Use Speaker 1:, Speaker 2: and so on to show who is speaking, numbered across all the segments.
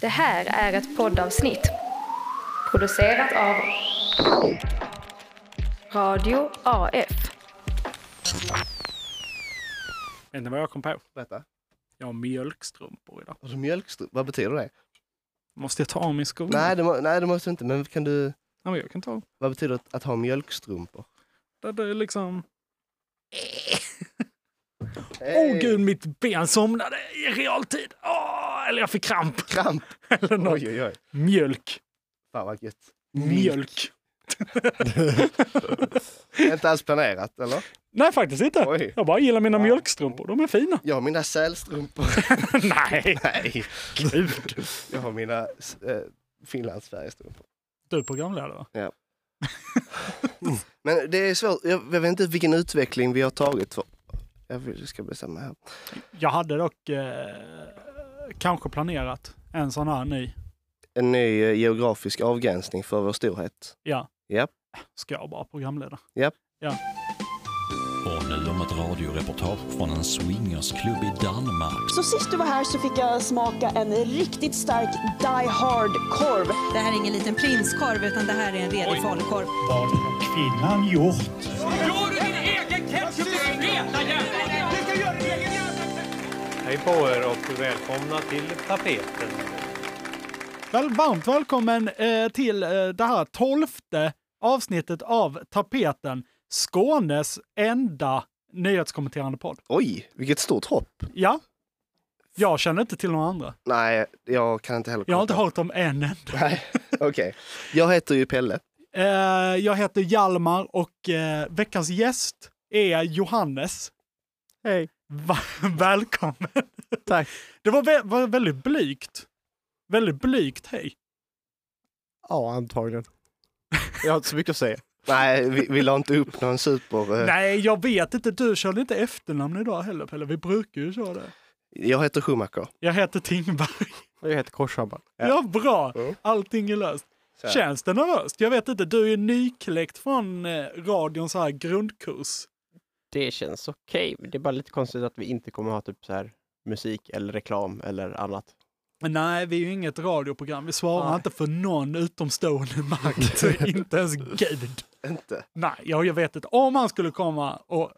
Speaker 1: Det här är ett poddavsnitt producerat av Radio AF.
Speaker 2: Vet ni vad jag kom på?
Speaker 3: Berätta.
Speaker 2: Jag har mjölkstrumpor idag.
Speaker 3: Har du mjölkstrumpa? Vad betyder det?
Speaker 2: Måste jag ta av min sko?
Speaker 3: Nej, det, må, nej, det måste du inte. Men kan du...
Speaker 2: Ja, men jag kan ta av.
Speaker 3: Vad betyder att, att ha mjölkstrumpor?
Speaker 2: Det, det är liksom... Åh Oh, gud, mitt ben somnade i realtid! Åh, eller jag fick kramp.
Speaker 3: Kramp!
Speaker 2: Eller något.
Speaker 3: Oj, oj, oj.
Speaker 2: Mjölk.
Speaker 3: Fan vad gött.
Speaker 2: Mjölk.
Speaker 3: Inte alls planerat, eller?
Speaker 2: Nej, faktiskt inte.
Speaker 3: Oj.
Speaker 2: Jag bara gillar mina
Speaker 3: Wow.
Speaker 2: mjölkstrumpor. De är fina.
Speaker 3: Jag har mina sälstrumpor.
Speaker 2: Nej,
Speaker 3: Nej,
Speaker 2: gud.
Speaker 3: jag har mina eh, Finland-Sverige-strumpor.
Speaker 2: Du är programledare, va?
Speaker 3: Men det är svårt. Jag, jag vet inte vilken utveckling vi har tagit. För. Jag vill- ska bestämma här.
Speaker 2: Jag hade dock eh, kanske planerat en sån här ny.
Speaker 3: En ny eh, geografisk avgränsning för vår storhet.
Speaker 2: Ja.
Speaker 3: Japp.
Speaker 2: Ska jag bara programleda?
Speaker 4: Och nu om ett radioreportage från en swingersklubb i Danmark.
Speaker 5: Så sist du var här så fick jag smaka en riktigt stark Die Hard-korv.
Speaker 6: Det här är ingen liten prinskorv utan det här är en redig falukorv.
Speaker 7: kvinnan gjort?
Speaker 8: Gör du din egen ketchup, din feta jävel! Du ska göra din egen jävla
Speaker 9: Hej på er och välkomna till tapeten.
Speaker 2: Väl, varmt välkommen eh, till eh, det här tolfte avsnittet av Tapeten, Skånes enda nyhetskommenterande podd.
Speaker 3: Oj, vilket stort hopp.
Speaker 2: Ja, jag känner inte till några andra.
Speaker 3: Nej, jag kan inte heller
Speaker 2: Jag har
Speaker 3: komma
Speaker 2: inte
Speaker 3: på-
Speaker 2: hört om en enda.
Speaker 3: Nej, okej. Jag heter ju Pelle.
Speaker 2: Eh, jag heter Hjalmar och eh, veckans gäst är Johannes. Hej. välkommen. Tack. Det var, vä- var väldigt blygt. Väldigt blygt hej.
Speaker 10: Ja, antagligen. Jag har inte så mycket att säga.
Speaker 3: Nej, vi, vi la inte upp någon super... eh,
Speaker 2: Nej, jag vet inte. Du körde inte efternamn idag heller Pelle. Vi brukar ju köra det.
Speaker 3: Jag heter Schumacher.
Speaker 2: Jag heter Tingberg.
Speaker 10: Jag heter Korshammar.
Speaker 2: Ja, bra. Allting är löst.
Speaker 3: Så här.
Speaker 2: Känns det nervöst? Jag vet inte. Du är nykläckt från eh, radions här grundkurs.
Speaker 10: Det känns okej. Det är bara lite konstigt att vi inte kommer ha typ så här musik eller reklam eller annat.
Speaker 2: Men nej, vi är ju inget radioprogram. Vi svarar
Speaker 10: Nej.
Speaker 2: inte för någon utomstående makt. inte ens Gud.
Speaker 3: Inte.
Speaker 2: Nej, jag, jag vet inte. Om han skulle komma och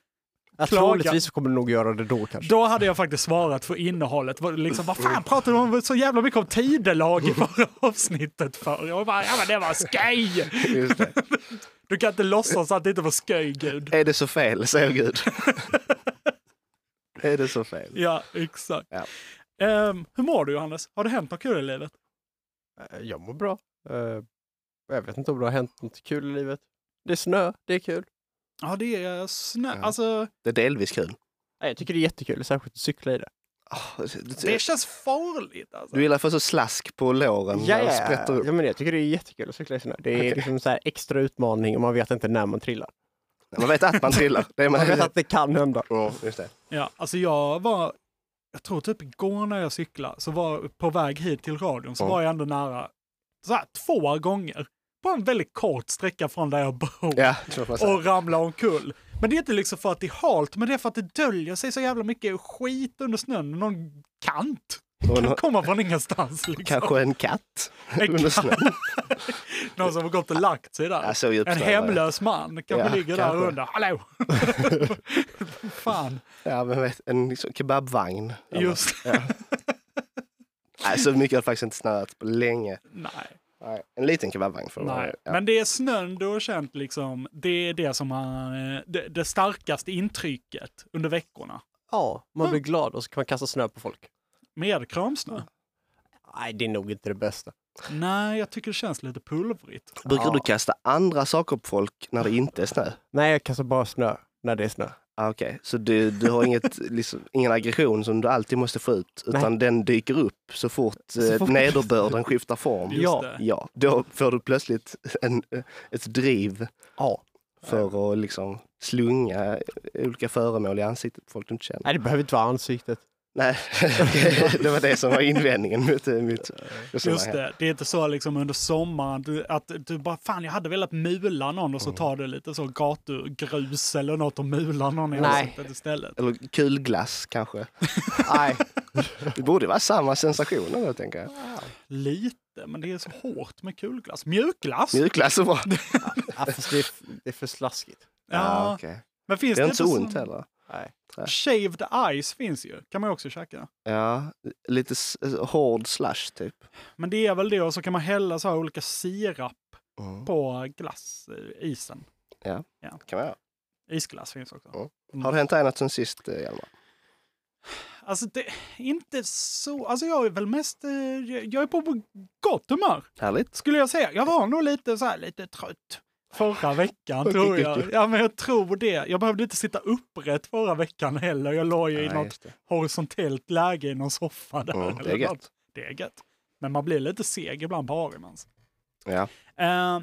Speaker 10: Ja,
Speaker 2: Klaga.
Speaker 10: troligtvis kommer du nog göra det då kanske.
Speaker 2: då hade jag faktiskt svarat för innehållet. Vad- Liksom, vad fan pratar du om så jävla mycket om tidelag i förra avsnittet för? Jag bara, ja men det var skoj!
Speaker 3: Just det.
Speaker 2: Du kan inte låtsas att det inte var skoj, Gud.
Speaker 3: Är det så fel, säger Gud. är det så fel?
Speaker 2: Ja, exakt.
Speaker 3: Ja.
Speaker 2: Ehm, hur mår du Johannes? Har det hänt något kul i livet?
Speaker 10: Eh, Jag mår bra. Eh, Jag vet inte om det har hänt något kul i livet. Det är snö, det är kul.
Speaker 2: Ja, det är snö.
Speaker 3: Ja.
Speaker 2: Alltså,
Speaker 3: Det är delvis kul.
Speaker 10: Nej, Jag tycker det är jättekul, särskilt att cykla i det.
Speaker 3: Ah, det-
Speaker 2: det känns farligt. Alltså.
Speaker 3: Du gillar att få så slask på låren när yeah. sprätter upp.
Speaker 10: Ja, men jag tycker det är jättekul att cykla i snö. Det är
Speaker 3: Okej.
Speaker 10: liksom så här extra utmaning och man vet inte när man trillar.
Speaker 3: Man vet att man trillar. Det är man
Speaker 10: Man vet att det kan hända.
Speaker 3: Ja, Just det.
Speaker 2: Ja, alltså jag var, jag tror typ igår när jag cyklade, så var på väg hit till radion, så
Speaker 3: Ja.
Speaker 2: var jag ändå nära så här, två gånger. På en väldigt kort sträcka från där jag bor.
Speaker 3: Ja, det får man säga.
Speaker 2: Och ramla omkull. Men det är inte liksom för att det är halt, men det är för att det döljer sig så jävla mycket skit under snön. Någon kant.
Speaker 3: Och
Speaker 2: Kan
Speaker 3: nå-
Speaker 2: komma från ingenstans liksom.
Speaker 3: Kanske en katt
Speaker 2: En
Speaker 3: under snön.
Speaker 2: Någon som har gått och lagt sig där.
Speaker 3: Jag såg ju
Speaker 2: En
Speaker 3: uppståndare.
Speaker 2: hemlös man kanske
Speaker 3: Ja,
Speaker 2: ligger där
Speaker 3: kanske.
Speaker 2: under. Hallå! Fan,
Speaker 3: Ja, men vet, en liksom kebabvagn. Eller-
Speaker 2: just
Speaker 3: Nej, så mycket har det faktiskt inte snöat på länge.
Speaker 2: Nej.
Speaker 3: Nej, En liten kebabvagn får det vara.
Speaker 2: Nej,
Speaker 3: Ja.
Speaker 2: men det är snön du har känt liksom, det är det som har, eh, det, det starkaste intrycket under veckorna.
Speaker 10: Ja, man blir glad och så kan man kasta snö på folk.
Speaker 2: Med kramsnö?
Speaker 10: Nej, det är nog inte det bästa.
Speaker 2: Nej, jag tycker det känns lite pulvrigt.
Speaker 3: Brukar
Speaker 10: Ja.
Speaker 3: du kasta andra saker på folk när det inte är snö?
Speaker 10: Nej, jag kastar bara snö när det är snö.
Speaker 3: Ah, Okej, så du, du har inget, liksom, ingen aggression som du alltid måste få ut, utan den dyker upp så fort, eh,
Speaker 10: fort-
Speaker 3: nederbörden skiftar form?
Speaker 2: Just
Speaker 10: Ja.
Speaker 2: det.
Speaker 3: Ja, då får du plötsligt en, eh, ett driv
Speaker 10: Ja.
Speaker 3: för att liksom slunga olika föremål i ansiktet på folk du inte känner.
Speaker 10: Nej, det behöver inte vara ansiktet.
Speaker 3: Nej, det var det som var invändningen mot eh, mitt
Speaker 2: Just
Speaker 3: resonemang. här.
Speaker 2: det, det är inte så liksom under sommaren du, att du bara fan jag hade velat mula någon och
Speaker 3: Mm.
Speaker 2: så tar du lite så gatugrus eller något och mular någon i
Speaker 10: Nej.
Speaker 2: ansiktet istället.
Speaker 3: Eller kulglass kanske.
Speaker 10: Nej.
Speaker 3: Det borde vara samma sensationer då tänker jag.
Speaker 2: Lite, men det är så hårt med kulglass. Mjukglass!
Speaker 3: Mjukglass är bra.
Speaker 10: Ja, fast det, är, f- det är för slaskigt.
Speaker 2: ja,
Speaker 3: okej.
Speaker 2: men finns
Speaker 3: Det
Speaker 2: det,
Speaker 3: är inte så
Speaker 2: sån-
Speaker 3: ont heller.
Speaker 2: Shaved ice finns ju, kan man ju också käka.
Speaker 3: Ja, lite s- eh, hård slush typ.
Speaker 2: Men det är väl det och så kan man hälla så här olika sirap
Speaker 3: Mm.
Speaker 2: på glassisen.
Speaker 3: Kan man göra.
Speaker 2: Isglass finns också.
Speaker 3: Mm. Har det hänt dig något sen sist eh, Hjalmar?
Speaker 2: Alltså det, inte så, alltså jag är väl mest, eh, jag- jag är på gott humör.
Speaker 3: Härligt.
Speaker 2: skulle jag säga. Jag var nog lite så här, lite trött. Förra veckan tror jag. Ja, men jag tror det. Jag behövde inte sitta upprätt förra veckan heller. Jag låg ju i
Speaker 3: Ja,
Speaker 2: något
Speaker 3: just det.
Speaker 2: horisontellt läge i någon soffa där.
Speaker 3: Mm, det är
Speaker 2: eller
Speaker 3: gött.
Speaker 2: något. Det är gött. Men man blir lite seg ibland på Arimans.
Speaker 3: Ja.
Speaker 2: Eh,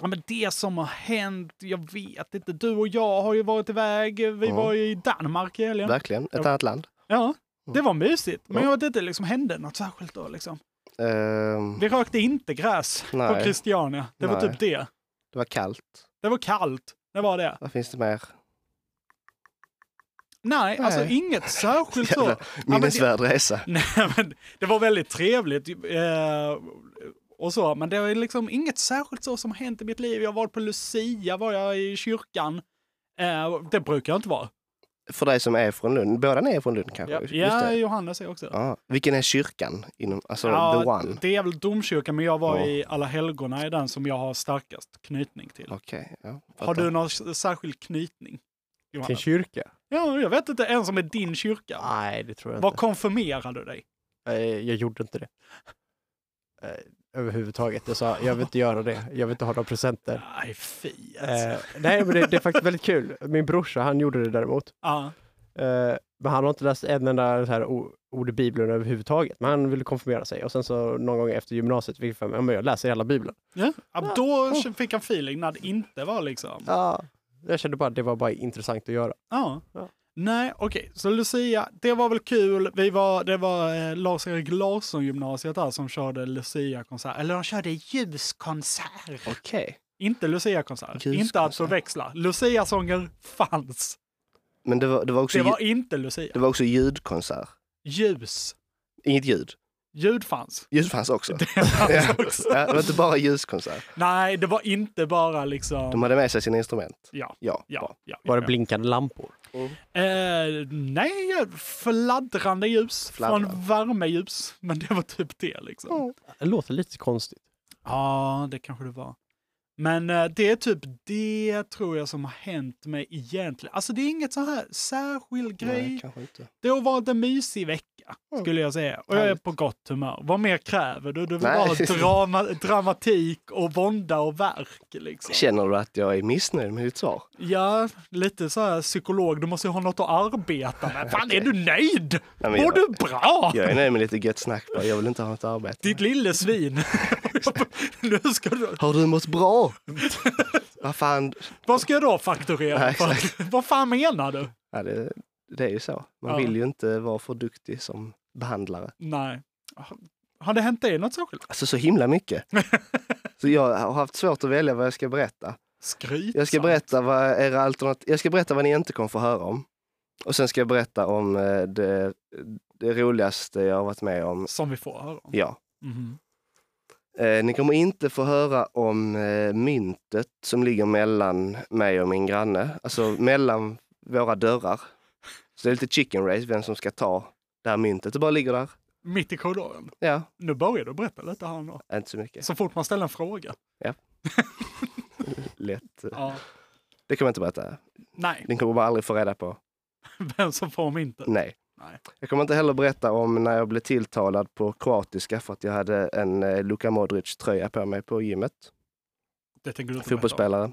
Speaker 2: ja, men det som har hänt, jag vet inte. Du och jag har ju varit iväg. Vi
Speaker 3: Mm.
Speaker 2: var ju i Danmark i helgen.
Speaker 3: Verkligen. Ett annat land.
Speaker 2: Ja, det var mysigt. Men
Speaker 3: Ja.
Speaker 2: jag vet inte, liksom hände något särskilt då liksom.
Speaker 3: Ehm,
Speaker 2: Vi rökte inte gräs på
Speaker 3: Nej.
Speaker 2: Christiania. Det var
Speaker 3: Nej.
Speaker 2: typ det.
Speaker 3: det var kallt.
Speaker 2: Det var kallt. Det var det.
Speaker 3: Vad finns det mer?
Speaker 2: Nej, alltså
Speaker 3: Nej.
Speaker 2: inget särskilt så.
Speaker 3: Jävla
Speaker 2: men
Speaker 3: Minnesvärd resa.
Speaker 2: Nej, men det var väldigt trevligt eh, och så, men det är liksom inget särskilt så som har hänt i mitt liv. Jag var på Lucia, var jag i kyrkan. Eh, det brukar jag inte vara.
Speaker 3: För dig som är från Lund. Båda ni är från Lund kanske?
Speaker 10: Ja.
Speaker 3: Just
Speaker 2: Ja,
Speaker 3: det.
Speaker 2: Johannes är också.
Speaker 3: Ja. Vilken är kyrkan? Inom, alltså the
Speaker 2: Ja,
Speaker 3: one?
Speaker 2: det är väl domkyrkan, men jag var
Speaker 3: Ja.
Speaker 2: i Alla helgona i den som jag har starkast knytning till.
Speaker 3: Okej. ja,
Speaker 2: Har
Speaker 3: fattar.
Speaker 2: du någon särskild knytning?
Speaker 10: Till
Speaker 2: Johannes?
Speaker 10: kyrka?
Speaker 2: Ja, jag vet inte, en som är din kyrka.
Speaker 10: Nej, det tror jag
Speaker 2: Var
Speaker 10: inte.
Speaker 2: konfirmerade du dig?
Speaker 10: Eh, Jag gjorde inte det. Eh, Överhuvudtaget. Jag sa, jag vill inte göra det. Jag vill inte ha några presenter.
Speaker 2: Nej, fy alltså.
Speaker 10: Eh, nej, men det, det är faktiskt väldigt kul. Min brorsa, han gjorde det däremot.
Speaker 2: Ja.
Speaker 10: Eh, men han har inte läst en enda så här o- ord i Bibeln överhuvudtaget. Men han ville konfirmera sig. Och sen så någon gång efter gymnasiet fick jag för mig, ja, men jag läser hela Bibeln.
Speaker 2: Ja. då fick han feeling när det inte var liksom.
Speaker 10: Ja. Jag kände bara att det var bara intressant att göra.
Speaker 2: Ja.
Speaker 10: Ja.
Speaker 2: Nej, okej. Så Lucia, det var väl kul. Vi var, det var eh, Lars-Erik Larsson-gymnasiet där som körde Lucia-konsert. Eller de körde ljuskonsert.
Speaker 3: Okej.
Speaker 2: Inte Lucia-konsert.
Speaker 3: Ljuskonsert.
Speaker 2: Inte att förväxla. Lucia-sånger fanns.
Speaker 3: Men det var, det, var också,
Speaker 2: Det var
Speaker 3: ljud-
Speaker 2: inte Lucia.
Speaker 3: det var också ljudkonsert.
Speaker 2: Ljus.
Speaker 3: Inget ljud.
Speaker 2: Ljud fanns.
Speaker 3: Ljud fanns också. Det
Speaker 2: fanns
Speaker 3: ja.
Speaker 2: också.
Speaker 3: Ja, det var inte bara ljuskonsert.
Speaker 2: Nej, det var inte bara
Speaker 3: De
Speaker 2: liksom...
Speaker 3: hade med sig sina instrument.
Speaker 2: Ja,
Speaker 3: Ja.
Speaker 2: ja, ja.
Speaker 10: Var det
Speaker 2: ja.
Speaker 10: blinkande lampor?
Speaker 2: Eh, nej, fladdrande ljus från
Speaker 3: Fladdrande.
Speaker 2: värmeljus. Men det var typ det liksom.
Speaker 10: Det låter lite konstigt.
Speaker 2: Ja, det kanske det var. Men eh, det är typ det tror jag som har hänt mig egentligen. Alltså det är inget så här särskild grej.
Speaker 3: Nej, kanske inte.
Speaker 2: Det har varit en mysig vecka skulle jag säga. Och jag är
Speaker 3: Mm. Härligt.
Speaker 2: på gott humör. Vad mer kräver du? Du vill bara
Speaker 3: Nej.
Speaker 2: ha drama, dramatik och vånda och verk liksom.
Speaker 3: Känner du att jag är missnöjd med ditt svar?
Speaker 2: Ja, lite så här psykolog. Du måste ju ha något att arbeta med. Fan, är du nöjd?
Speaker 3: men
Speaker 2: Mår
Speaker 3: jag-
Speaker 2: du bra?
Speaker 3: Jag är nöjd med lite gött snack bara. Jag vill inte ha något arbete.
Speaker 2: Ditt lille svin. nu ska du...
Speaker 3: Har du mått bra? Vad fan?
Speaker 2: Vad ska jag då fakturera?
Speaker 3: Nej,
Speaker 2: för? Vad fan menar du?
Speaker 3: Ja, det, det är ju så. Man
Speaker 2: Ja.
Speaker 3: vill ju inte vara för duktig som behandlare.
Speaker 2: Nej. Har- Har det hänt dig något särskilt?
Speaker 3: Alltså så himla mycket. så jag har haft svårt att välja vad jag ska berätta.
Speaker 2: Skryt.
Speaker 3: Jag ska berätta vad era alternativ... Jag ska berätta vad ni inte kommer få höra om. Och sen ska jag berätta om eh, det, det roligaste jag har varit med om.
Speaker 2: Som vi får höra om.
Speaker 3: Ja.
Speaker 2: Mhm.
Speaker 3: Eh, ni kommer inte få höra om eh, myntet som ligger mellan mig och min granne. Alltså mellan våra dörrar. Så det är lite chicken race vem som ska ta det här myntet. Det bara ligger där.
Speaker 2: Mitt i korridoren.
Speaker 3: Ja,
Speaker 2: Nu börjar du berätta lite här nu.
Speaker 3: inte så mycket.
Speaker 2: Så fort man ställer en fråga.
Speaker 3: Lätt.
Speaker 2: Ja.
Speaker 3: Det kommer jag inte berätta.
Speaker 2: Nej,
Speaker 3: Ni kommer bara aldrig få reda på.
Speaker 2: vem som får mig inte.
Speaker 3: Nej.
Speaker 2: Nej.
Speaker 3: Jag kommer inte heller berätta om när jag blev tilltalad på kroatiska för att jag hade en eh, Luka Modric-tröja på mig på gymmet.
Speaker 2: Det tänker du inte berätta om.
Speaker 3: Fotbollsspelare.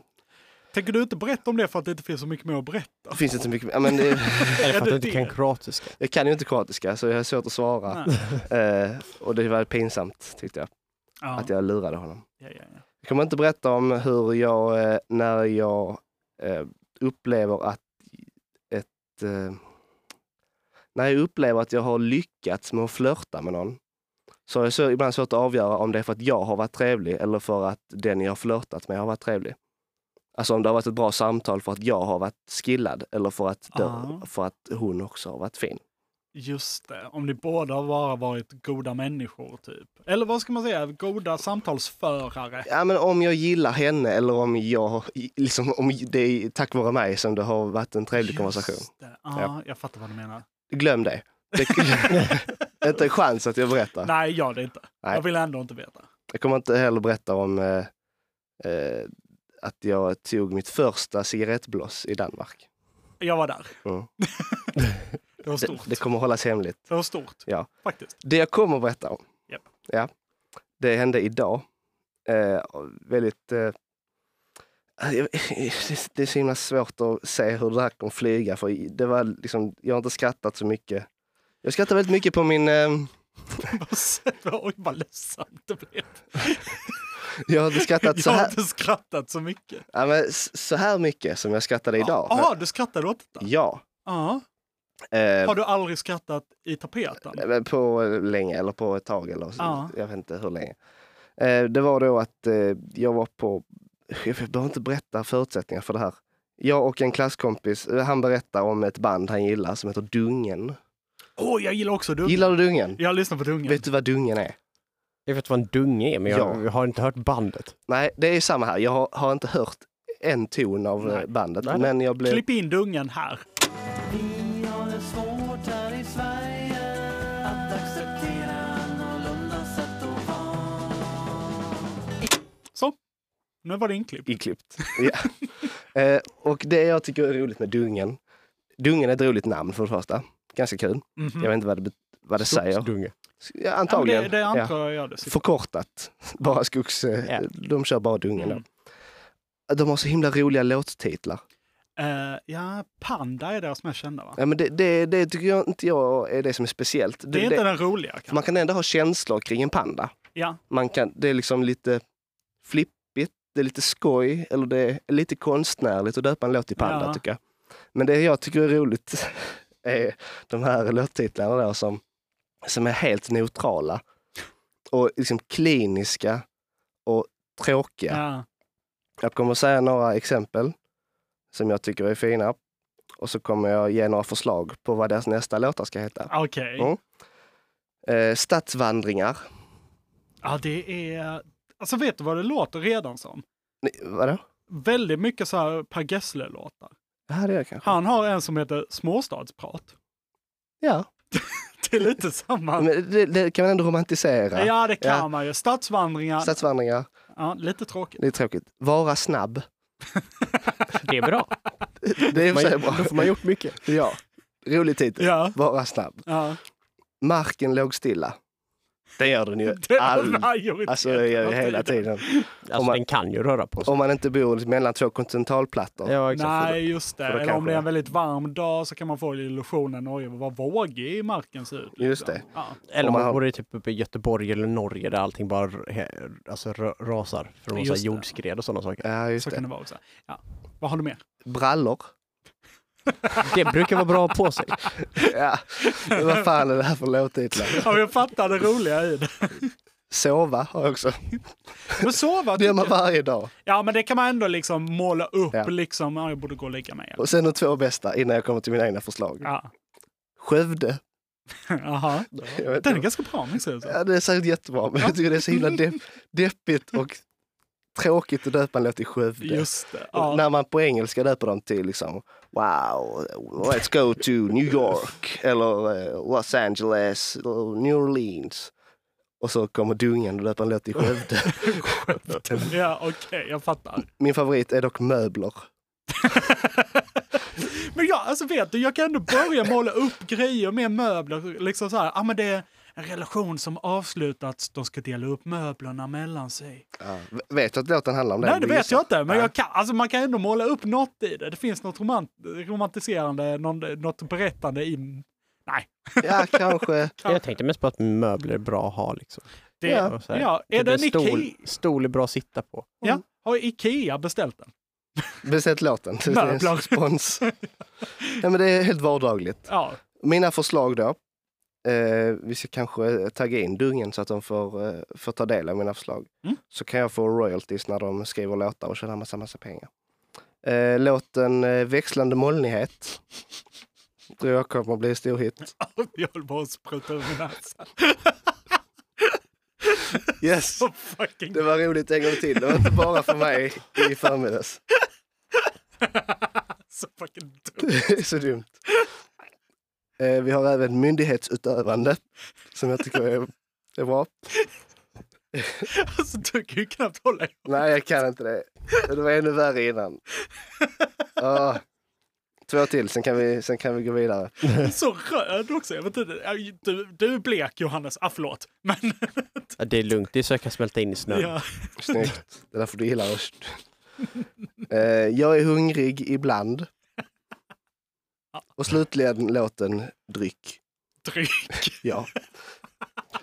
Speaker 2: Tänker du inte berätta om det för att det inte finns så mycket mer att berätta?
Speaker 3: Det finns inte så mycket. Ja, men det,
Speaker 10: Eller för
Speaker 2: Är
Speaker 10: att
Speaker 2: det
Speaker 10: du inte
Speaker 2: det?
Speaker 10: kan kroatiska.
Speaker 3: jag kan ju inte kroatiska så jag har svårt att svara.
Speaker 2: Nej.
Speaker 3: Eh, och det var pinsamt tyckte jag,
Speaker 2: Ja.
Speaker 3: att jag lurade honom.
Speaker 2: Ja, ja, ja.
Speaker 3: Jag kommer inte berätta om hur jag, eh, när jag eh, upplever att ett... Eh, När jag upplever att jag har lyckats med att flörta med någon så har jag så, ibland svårt att avgöra om det är för att jag har varit trevlig eller för att den jag har flörtat med har varit trevlig. Alltså om det har varit ett bra samtal för att jag har varit skillad eller för att, de,
Speaker 2: Ah.
Speaker 3: för att hon också har varit fin.
Speaker 2: Just det, om ni båda har bara varit goda människor typ. Eller vad ska man säga, goda samtalsförare.
Speaker 3: Ja, men om jag gillar henne eller om, jag, liksom, om det är tack vare mig som det har varit en trevlig
Speaker 2: Just
Speaker 3: konversation.
Speaker 2: det. Ah,
Speaker 3: Ja.
Speaker 2: Jag fattar vad du menar.
Speaker 3: Glöm det. det inte en chans att jag berättar.
Speaker 2: Nej, gör det inte.
Speaker 3: Nej.
Speaker 2: Jag vill ändå inte veta.
Speaker 3: Jag kommer inte heller berätta om eh, eh, att jag tog mitt första cigarettblås i Danmark.
Speaker 2: Jag var där.
Speaker 3: Mm.
Speaker 2: Det var
Speaker 3: Det,
Speaker 2: stort.
Speaker 3: det kommer hållas hemligt.
Speaker 2: Det var stort.
Speaker 3: Ja.
Speaker 2: Faktiskt.
Speaker 3: Det jag kommer att berätta om,
Speaker 2: Japp.
Speaker 3: ja, det hände idag. Eh, väldigt... Eh, jag- det- det är så himla svårt att se hur det här kommer flyga. För det var liksom, jag har inte skrattat så mycket. Jag skrattar väldigt mycket på min... Eh,
Speaker 2: Oj, vad ledsamt det blev.
Speaker 3: jag har inte skrattat så
Speaker 2: Jag har
Speaker 3: här,
Speaker 2: inte skrattat så mycket.
Speaker 3: ja, men, s- så här mycket som jag skrattade idag.
Speaker 2: Jaha, du skrattade åt detta?
Speaker 3: Ja.
Speaker 2: Ja.
Speaker 3: Eh,
Speaker 2: Har du aldrig skrattat i tapeten?
Speaker 3: Nej, men På länge, eller på ett tag, eller så,
Speaker 2: Ja.
Speaker 3: jag vet inte hur länge. Eh, Det var då att eh, jag var på, jag behöver inte berätta förutsättningar för det här. Jag och en klasskompis, eh, han berättar om ett band han gillar som heter Dungen.
Speaker 2: Åh, jag gillar också Dungen.
Speaker 3: Gillar du Dungen?
Speaker 2: Jag lyssnar på Dungen.
Speaker 3: Vet du vad Dungen är?
Speaker 10: Jag vet vad en dunge är, men jag
Speaker 3: Ja.
Speaker 10: har inte hört bandet.
Speaker 3: Nej, det är samma här. Jag har, har inte hört en ton av eh,
Speaker 2: Nej.
Speaker 3: bandet,
Speaker 10: Nej, nej.
Speaker 3: men jag blev...
Speaker 2: Klipp in Dungen här. Så. Nu var det inklippt.
Speaker 3: Inklippt. Ja. Eh, och det jag tycker är roligt med Dungen, Dungen är ett roligt namn för det första. Ganska kul.
Speaker 2: Mhm.
Speaker 3: Jag vet inte vad det, bet- vad det säger.
Speaker 10: Dunge.
Speaker 3: Ja,
Speaker 2: Ja, men
Speaker 3: antagligen.
Speaker 2: det, det antar jag jag det
Speaker 3: Ja.
Speaker 2: sitter.
Speaker 3: Förkortat. Bara skogs... eh,
Speaker 10: Ja.
Speaker 3: De kör bara dungen
Speaker 2: Mm.
Speaker 3: då. De har så himla roliga låttitlar.
Speaker 2: Eh, ja, Panda är deras mest kända va?
Speaker 3: Ja, men det, det, det tycker jag inte jag är det som är speciellt.
Speaker 2: Det är inte den roliga
Speaker 3: för
Speaker 2: kanske.
Speaker 3: man kan ändå ha känslor kring en panda.
Speaker 2: Ja,
Speaker 3: Man kan, det är liksom lite flippigt, det är lite skoj eller det är lite konstnärligt att döpa en låt till panda
Speaker 2: Ja.
Speaker 3: tycker jag. Men det jag tycker är roligt är de här låttitlarna då som, som är helt neutrala och liksom kliniska och tråkiga.
Speaker 2: ja.
Speaker 3: Jag kommer att säga några exempel som jag tycker är fina och så kommer jag ge några förslag på vad deras nästa låtar ska heta.
Speaker 2: okej.
Speaker 3: Mm. Eh, stadsvandringar.
Speaker 2: Ja, det är... Alltså vet du vad det låter redan som?
Speaker 3: Nej, vadå?
Speaker 2: Väldigt mycket så här Per Gessle-låtar.
Speaker 3: Det här är jag kanske.
Speaker 2: Han har en som heter Småstadsprat.
Speaker 3: Ja,
Speaker 2: Det är lite samma.
Speaker 3: men det, det kan man ändå romantisera.
Speaker 2: Ja, det kan
Speaker 3: Ja.
Speaker 2: man ju. Stadsvandringar.
Speaker 3: Stadsvandringar,
Speaker 2: Ja, lite tråkigt.
Speaker 3: det är tråkigt. Vara snabb.
Speaker 10: Det är bra.
Speaker 3: Det är i och
Speaker 10: Man,
Speaker 3: för sig bra.
Speaker 10: då får man gjort mycket.
Speaker 3: Ja, rolig titel.
Speaker 2: Ja,
Speaker 3: Vara snabb.
Speaker 2: ja.
Speaker 3: Marken låg stilla. Det gör den ju.
Speaker 2: Det är
Speaker 3: All,
Speaker 2: majoriteten
Speaker 3: alltså det gör
Speaker 2: av
Speaker 3: ju hela tiden.
Speaker 10: Alltså
Speaker 3: man-
Speaker 10: den kan ju röra på sig.
Speaker 3: Om man inte bor mellan två kontinentalplattor.
Speaker 10: Ja, exakt.
Speaker 2: Nej, just det.
Speaker 3: för då
Speaker 2: Eller om
Speaker 3: kanske-
Speaker 2: det är en väldigt varm dag så kan man få illusionen oj, vad vågig i marken ser ut. liksom.
Speaker 3: Just det.
Speaker 2: Ja.
Speaker 10: Eller
Speaker 3: Om
Speaker 10: om
Speaker 3: man
Speaker 10: man
Speaker 3: har-
Speaker 10: bor i typ uppe i Göteborg eller Norge där allting bara rö- alltså, rö- rasar. För de har så här
Speaker 2: Just det.
Speaker 10: jordskred och sådana saker.
Speaker 3: Ja, just
Speaker 2: Så
Speaker 3: det.
Speaker 2: kan det vara också. Ja. Vad har du mer?
Speaker 3: Brallor.
Speaker 10: Det brukar vara bra på sig.
Speaker 3: Ja, men vad fan är det här för låttitlar?
Speaker 2: Ja, jag fattar det roliga i det.
Speaker 3: Sova har jag också.
Speaker 2: Men sova
Speaker 3: Det gör man
Speaker 2: tycker jag.
Speaker 3: varje dag.
Speaker 2: Ja, men det kan man ändå liksom måla upp
Speaker 3: Ja.
Speaker 2: liksom. Ja, jag borde gå och lägga mig.
Speaker 3: Och sen de två bästa innan jag kommer till mina egna förslag.
Speaker 2: Ja.
Speaker 3: Skövde.
Speaker 2: Jaha.
Speaker 3: Jag vet
Speaker 2: Den är
Speaker 3: inte.
Speaker 2: ganska bra, minns jag.
Speaker 3: ja, det är säkert jättebra, men jag tycker det är så himla depp, deppigt och tråkigt att döpa en låt till Skövde.
Speaker 2: Just det.
Speaker 3: Och
Speaker 2: Ja.
Speaker 3: När man på engelska döper dem till liksom Wow, let's go to New York eller eh, Los Angeles, eller New Orleans. Och så kommer dungen och döper en låt till Skövde.
Speaker 2: Ja, okej, jag fattar.
Speaker 3: Min favorit är dock möbler.
Speaker 2: Men jag, alltså vet du, jag kan ändå börja måla upp grejer med möbler. Liksom så här, ja men det är en relation som avslutats, de ska dela upp möblerna mellan sig.
Speaker 3: Ja. Vet du att låten handlar om det?
Speaker 2: Nej, det
Speaker 3: Du
Speaker 2: vet
Speaker 3: gissar.
Speaker 2: jag inte, men
Speaker 3: Ja.
Speaker 2: jag kan, alltså, man kan ändå måla upp något i det. Det finns något romant, romantiserande, någon, något berättande i... Nej,
Speaker 3: Ja, kanske.
Speaker 10: Jag tänkte mest på att möbler är bra att ha liksom.
Speaker 2: det...
Speaker 3: Ja.
Speaker 10: Och så här.
Speaker 2: Ja, är
Speaker 10: Typ
Speaker 2: det en
Speaker 10: en stol,
Speaker 2: Ikea?
Speaker 10: stol är bra att sitta på.
Speaker 2: Ja, har Ikea beställt den?
Speaker 3: Besätt låten. Det är en
Speaker 2: Möbler.
Speaker 3: spons. Nej, men det är helt vardagligt.
Speaker 2: Ja,
Speaker 3: Mina förslag då. Eh, vi ska kanske tagga in Dungen så att de får, eh, får ta del av mina förslag.
Speaker 2: Mm.
Speaker 3: Så kan jag få royalties när de skriver låtar och tjänar massa, massa pengar. Eh, låten eh, Växlande molnighet. Tror jag kommer att bli en stor hit.
Speaker 2: Jag höll bara att spruta ur min näsa.
Speaker 3: Yes!
Speaker 2: Så fucking...
Speaker 3: Det var roligt en gång till. Det var inte bara för mig i förmiddags.
Speaker 2: Så fucking dumt.
Speaker 3: Det är så dumt. Eh, vi har även myndighetsutövande som jag tycker är, är bra.
Speaker 2: Alltså, du kan ju knappt hålla i.
Speaker 3: Nej, jag kan inte det. Det var ännu värre innan. Ah, två till, sen kan, vi, sen kan vi gå vidare.
Speaker 2: Du är så röd också. Jag vet inte. Aj, Du, du är blek, Johannes. Ah, förlåt. Men...
Speaker 10: Ja, det är lugnt, det är så jag kan smälta in i snön.
Speaker 2: Ja.
Speaker 3: Snyggt. Det är därför du gillar oss. Eh, jag är hungrig ibland. Och slutligen låten Dryck.
Speaker 2: Dryck.
Speaker 3: Ja.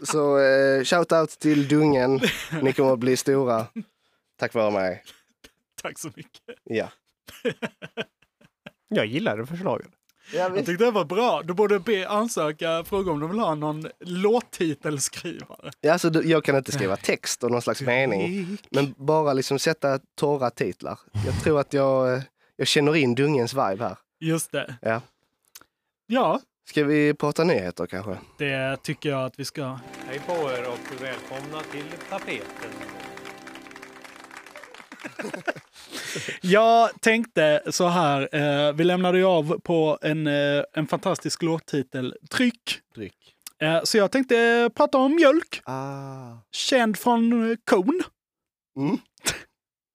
Speaker 3: Så eh, shout-out till Dungen. Ni kommer att bli stora tack vare mig.
Speaker 2: Tack så mycket.
Speaker 3: Ja.
Speaker 10: Jag gillar det förslaget.
Speaker 3: Ja,
Speaker 2: Jag tyckte det var bra. Du borde be ansöka, fråga om de vill ha någon låttitelskrivare.
Speaker 3: alltså, du- jag kan inte skriva text och någon slags mening, men bara liksom sätta torra titlar. Jag tror att jag, eh, jag känner in Dungens vibe här.
Speaker 2: Just det.
Speaker 3: Ja.
Speaker 2: Ja,
Speaker 3: Ska vi prata nyheter kanske?
Speaker 2: det tycker jag att vi ska.
Speaker 9: Hej på er och välkomna till tapeten.
Speaker 2: Jag tänkte så här, eh, vi lämnade ju av på en, eh, en fantastisk låttitel, Tryck.
Speaker 3: Dryck.
Speaker 2: Eh, så jag tänkte eh, prata om mjölk,
Speaker 3: Ah.
Speaker 2: känd från eh, kon.
Speaker 3: Mm.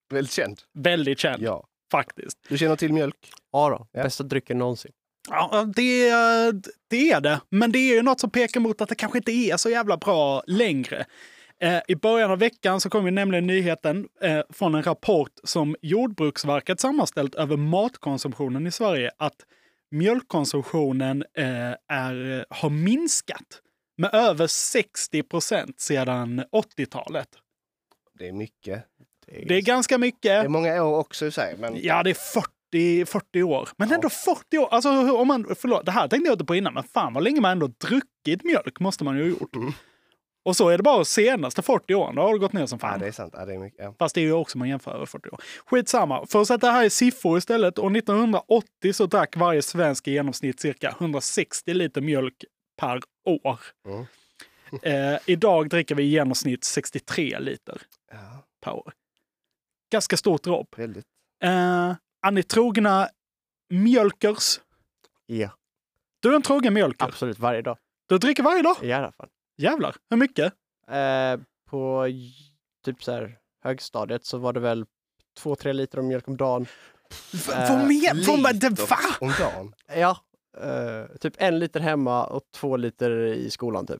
Speaker 3: Väldigt känd.
Speaker 2: Väldigt känd
Speaker 3: Ja.
Speaker 2: faktiskt.
Speaker 3: Du känner till mjölk?
Speaker 10: Ja då,
Speaker 3: Ja.
Speaker 10: bästa drycken någonsin.
Speaker 2: Ja, det, det är det. Men det är ju något som pekar mot att det kanske inte är så jävla bra längre. Eh, I början av veckan så kom ju nämligen nyheten eh, från en rapport som Jordbruksverket sammanställt över matkonsumtionen i Sverige att mjölkkonsumtionen eh, är, har minskat med över 60 procent sedan 80-talet.
Speaker 3: Det är mycket.
Speaker 2: Det är ganska mycket.
Speaker 3: Det är många år också i sig, men
Speaker 2: Ja, det är 40, 40 år. Men ändå 40 år! Alltså, hur- om man, förlåt, det här tänkte jag inte på innan, men fan vad länge man ändå druckit mjölk måste man ju ha gjort.
Speaker 3: Mm.
Speaker 2: Och så är det bara de senaste 40 åren, då har det gått ner som
Speaker 3: ja,
Speaker 2: fan.
Speaker 3: det är sant. Ja, det är mycket. Ja.
Speaker 2: Fast det är ju också man jämför över 40 år. Skitsamma. För att sätta här i siffror istället. År 1980 så drack varje svensk i genomsnitt cirka 160 liter mjölk per år.
Speaker 3: Mm.
Speaker 2: Eh, idag dricker vi i genomsnitt 63 liter
Speaker 3: Ja,
Speaker 2: per år. Ganska stort dropp.
Speaker 3: väldigt.
Speaker 2: Eh, är ni trogna mjölkers?
Speaker 10: Ja,
Speaker 2: Du är en trogen mjölker.
Speaker 10: absolut. Varje dag.
Speaker 2: Du dricker varje dag.
Speaker 10: I alla fall.
Speaker 2: Jävlar, hur mycket?
Speaker 10: Eh, på j- typ så här högstadiet så var det väl två, tre liter mjölk om dagen. Eh,
Speaker 2: vad men- vad men- det-
Speaker 3: Liter
Speaker 2: va?
Speaker 3: Om dagen.
Speaker 10: Ja, eh, typ en liter hemma och två liter i skolan typ.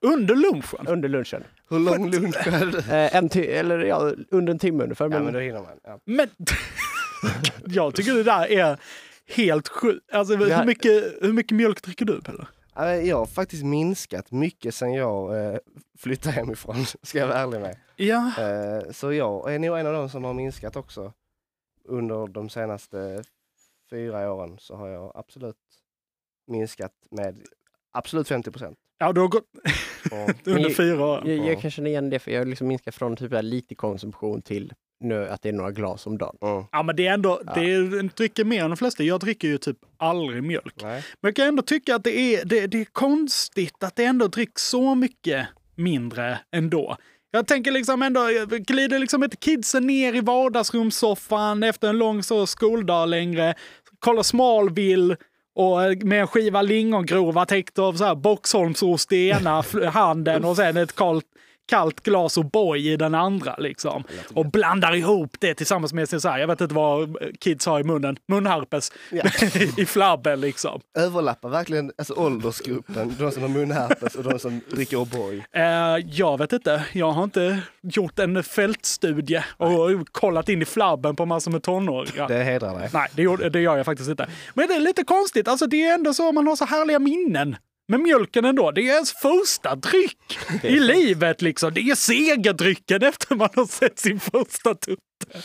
Speaker 2: Under lunchen?
Speaker 10: Under lunchen.
Speaker 3: Hur lång lunch är det?
Speaker 10: Eh, en ti- eller ja, under en timme ungefär.
Speaker 3: Ja,
Speaker 10: Men,
Speaker 3: men då hinner man. Ja.
Speaker 2: Men jag tycker det där är helt sjukt. Alltså,
Speaker 10: Det här-
Speaker 2: hur, mycket, hur mycket mjölk dricker du Pelle?
Speaker 3: Ja, men Jag har faktiskt minskat mycket sen jag eh, flyttade hemifrån, ska jag vara ärlig med.
Speaker 2: Ja,
Speaker 3: Eh, så jag är nog en av de som har minskat också. Under de senaste fyra åren så har jag absolut minskat med absolut 50 procent.
Speaker 2: ja du har gått under
Speaker 10: ju-
Speaker 2: fyra år.
Speaker 10: jag, jag kan känna igen det för jag har liksom minskat från typ där lite konsumtion till nu att det är några glas om dagen.
Speaker 3: Mm.
Speaker 2: Ja, men det är ändå, det är, du dricker mer än de flesta. Jag dricker ju typ aldrig mjölk.
Speaker 3: Nej.
Speaker 2: Men jag kan ändå tycka att det är, det, det är konstigt att det ändå dricks så mycket mindre ändå. Jag tänker liksom ändå, glider liksom inte kidsen ner i vardagsrumssoffan efter en lång så skoldag längre, kollar Smalville och eh, med en skiva lingongrova täckt av så här Boxholmsost i ena fl- handen och sen ett kallt, kallt glas O'boy i den andra. Liksom. Och blandar ihop det tillsammans med sin, så här, jag vet inte vad kids har i munnen, munharpes i flabben liksom.
Speaker 3: Överlappar verkligen alltså, åldersgruppen, de som har munherpes och de som dricker O'boy.
Speaker 2: Eh, jag vet inte. Jag har inte gjort en fältstudie och kollat in i flabben på massor med tonåringar.
Speaker 3: Det hedrar dig.
Speaker 2: Nej, det, gjorde, det gör jag faktiskt inte. Men det är lite konstigt. Alltså, det är ändå så man har så härliga minnen. Med mjölken ändå. Det är ens första dryck i livet liksom. Det är segerdrycken efter man har sett sin första tutte.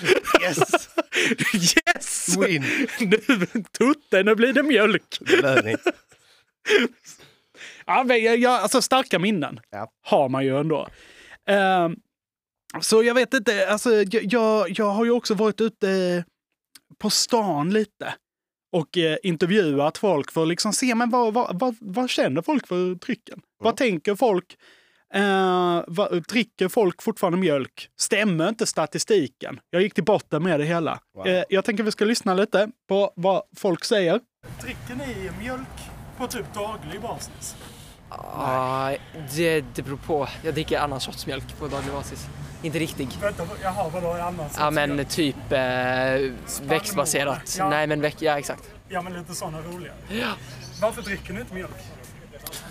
Speaker 3: Yes!
Speaker 2: Yes!
Speaker 3: Win!
Speaker 2: Nu, tutte, nu blir det mjölk.
Speaker 3: Belöning.
Speaker 2: Ja, men jag- jag- alltså starka minnen
Speaker 3: Ja.
Speaker 2: har man ju ändå. Ehm, så jag vet inte, alltså, jag, jag, jag har ju också varit ute eh, på stan lite och eh, intervjuat folk för att liksom se men vad, vad, vad, vad känner folk för drycken. Vad tänker folk? Eh, vad, dricker folk fortfarande mjölk? Stämmer inte statistiken? Jag gick till botten med det hela. Eh, jag tänker vi ska lyssna lite på vad folk säger. Dricker ni mjölk på typ daglig basis?
Speaker 11: Nej, Ah, det, det beror på. Jag dricker annan sorts mjölk på daglig basis. Inte riktig.
Speaker 2: Vänta, jaha, vadå annars?
Speaker 11: Ja men typ eh, växtbaserat.
Speaker 2: Ja.
Speaker 11: Nej men väck, ja exakt.
Speaker 2: Ja, men lite sådana roliga. Varför dricker ni inte mjölk?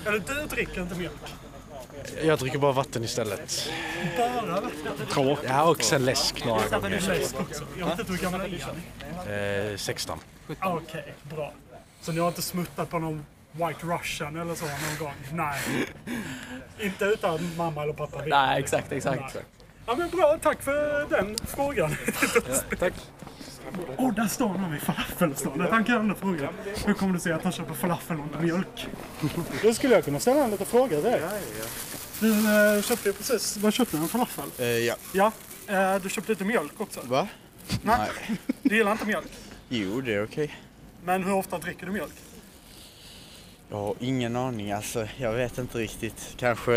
Speaker 2: Eller du dricker inte mjölk.
Speaker 12: Jag dricker bara vatten istället.
Speaker 2: Bara vatten.
Speaker 12: Tråkigt. Ja, och sen läsk några gånger.
Speaker 2: Jag vet inte hur gammal ni är.
Speaker 12: Eh, 16.
Speaker 2: Okej, bra. Så ni har inte smuttat på någon White Russian eller så någon gång? Nej. inte utan mamma eller pappa vet.
Speaker 11: Nej exakt, exakt.
Speaker 2: Nej. Ja, men bra. Tack för den frågan.
Speaker 12: tack.
Speaker 2: Åh, oh, där står någon vid falafelståndet. Han kan ändå fråga. Hur kommer det sig att han köper falafel och inte mjölk? Då skulle jag kunna ställa en liten fråga till dig. Du eh, köpte ju precis, vad köpte du? En falafel?
Speaker 13: ja.
Speaker 2: Ja. Eh, du köpte lite mjölk också.
Speaker 13: Va?
Speaker 2: Nej. Du gillar inte mjölk.
Speaker 13: Jo, det är okej.
Speaker 2: Men hur ofta dricker du mjölk?
Speaker 13: Jag har ingen aning alltså. Jag vet inte riktigt. Kanske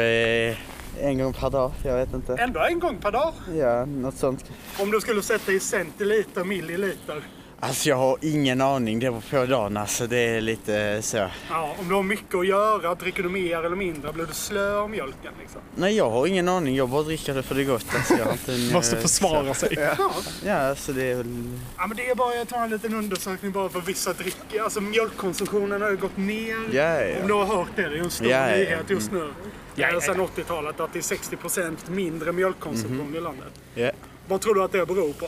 Speaker 13: eh, en gång per dag. Jag vet inte.
Speaker 2: Ändå en gång per dag.
Speaker 13: Ja, något sånt.
Speaker 2: Om du skulle sätta i centiliter, milliliter.
Speaker 13: Alltså jag har ingen aning. Det var på dagen alltså. Det är lite så.
Speaker 2: Ja, om du har mycket att göra, dricker du mer eller mindre? Blir du slö av mjölken liksom?
Speaker 13: Nej, jag har ingen aning. Jag bara dricker det för det är gott. Alltså, jag har inte en,
Speaker 2: Måste
Speaker 13: eh,
Speaker 2: försvara
Speaker 13: så-
Speaker 2: sig.
Speaker 13: Ja, ja alltså det är väl...
Speaker 2: Ja, men det är bara, jag tar en liten undersökning bara för vissa dricker. Alltså mjölkkonsumtionen har ju gått ner.
Speaker 13: Ja, ja, ja.
Speaker 2: Om du har hört det, det är ju en stor
Speaker 13: Ja, Mm. ja, ja.
Speaker 2: nyhet just nu. Eh,
Speaker 13: Ja, ja,
Speaker 2: Sen 80-talet att det är 60% mindre mjölkkonsumtion i landet.
Speaker 13: Mhm. Ja.
Speaker 2: Vad tror du att det beror på?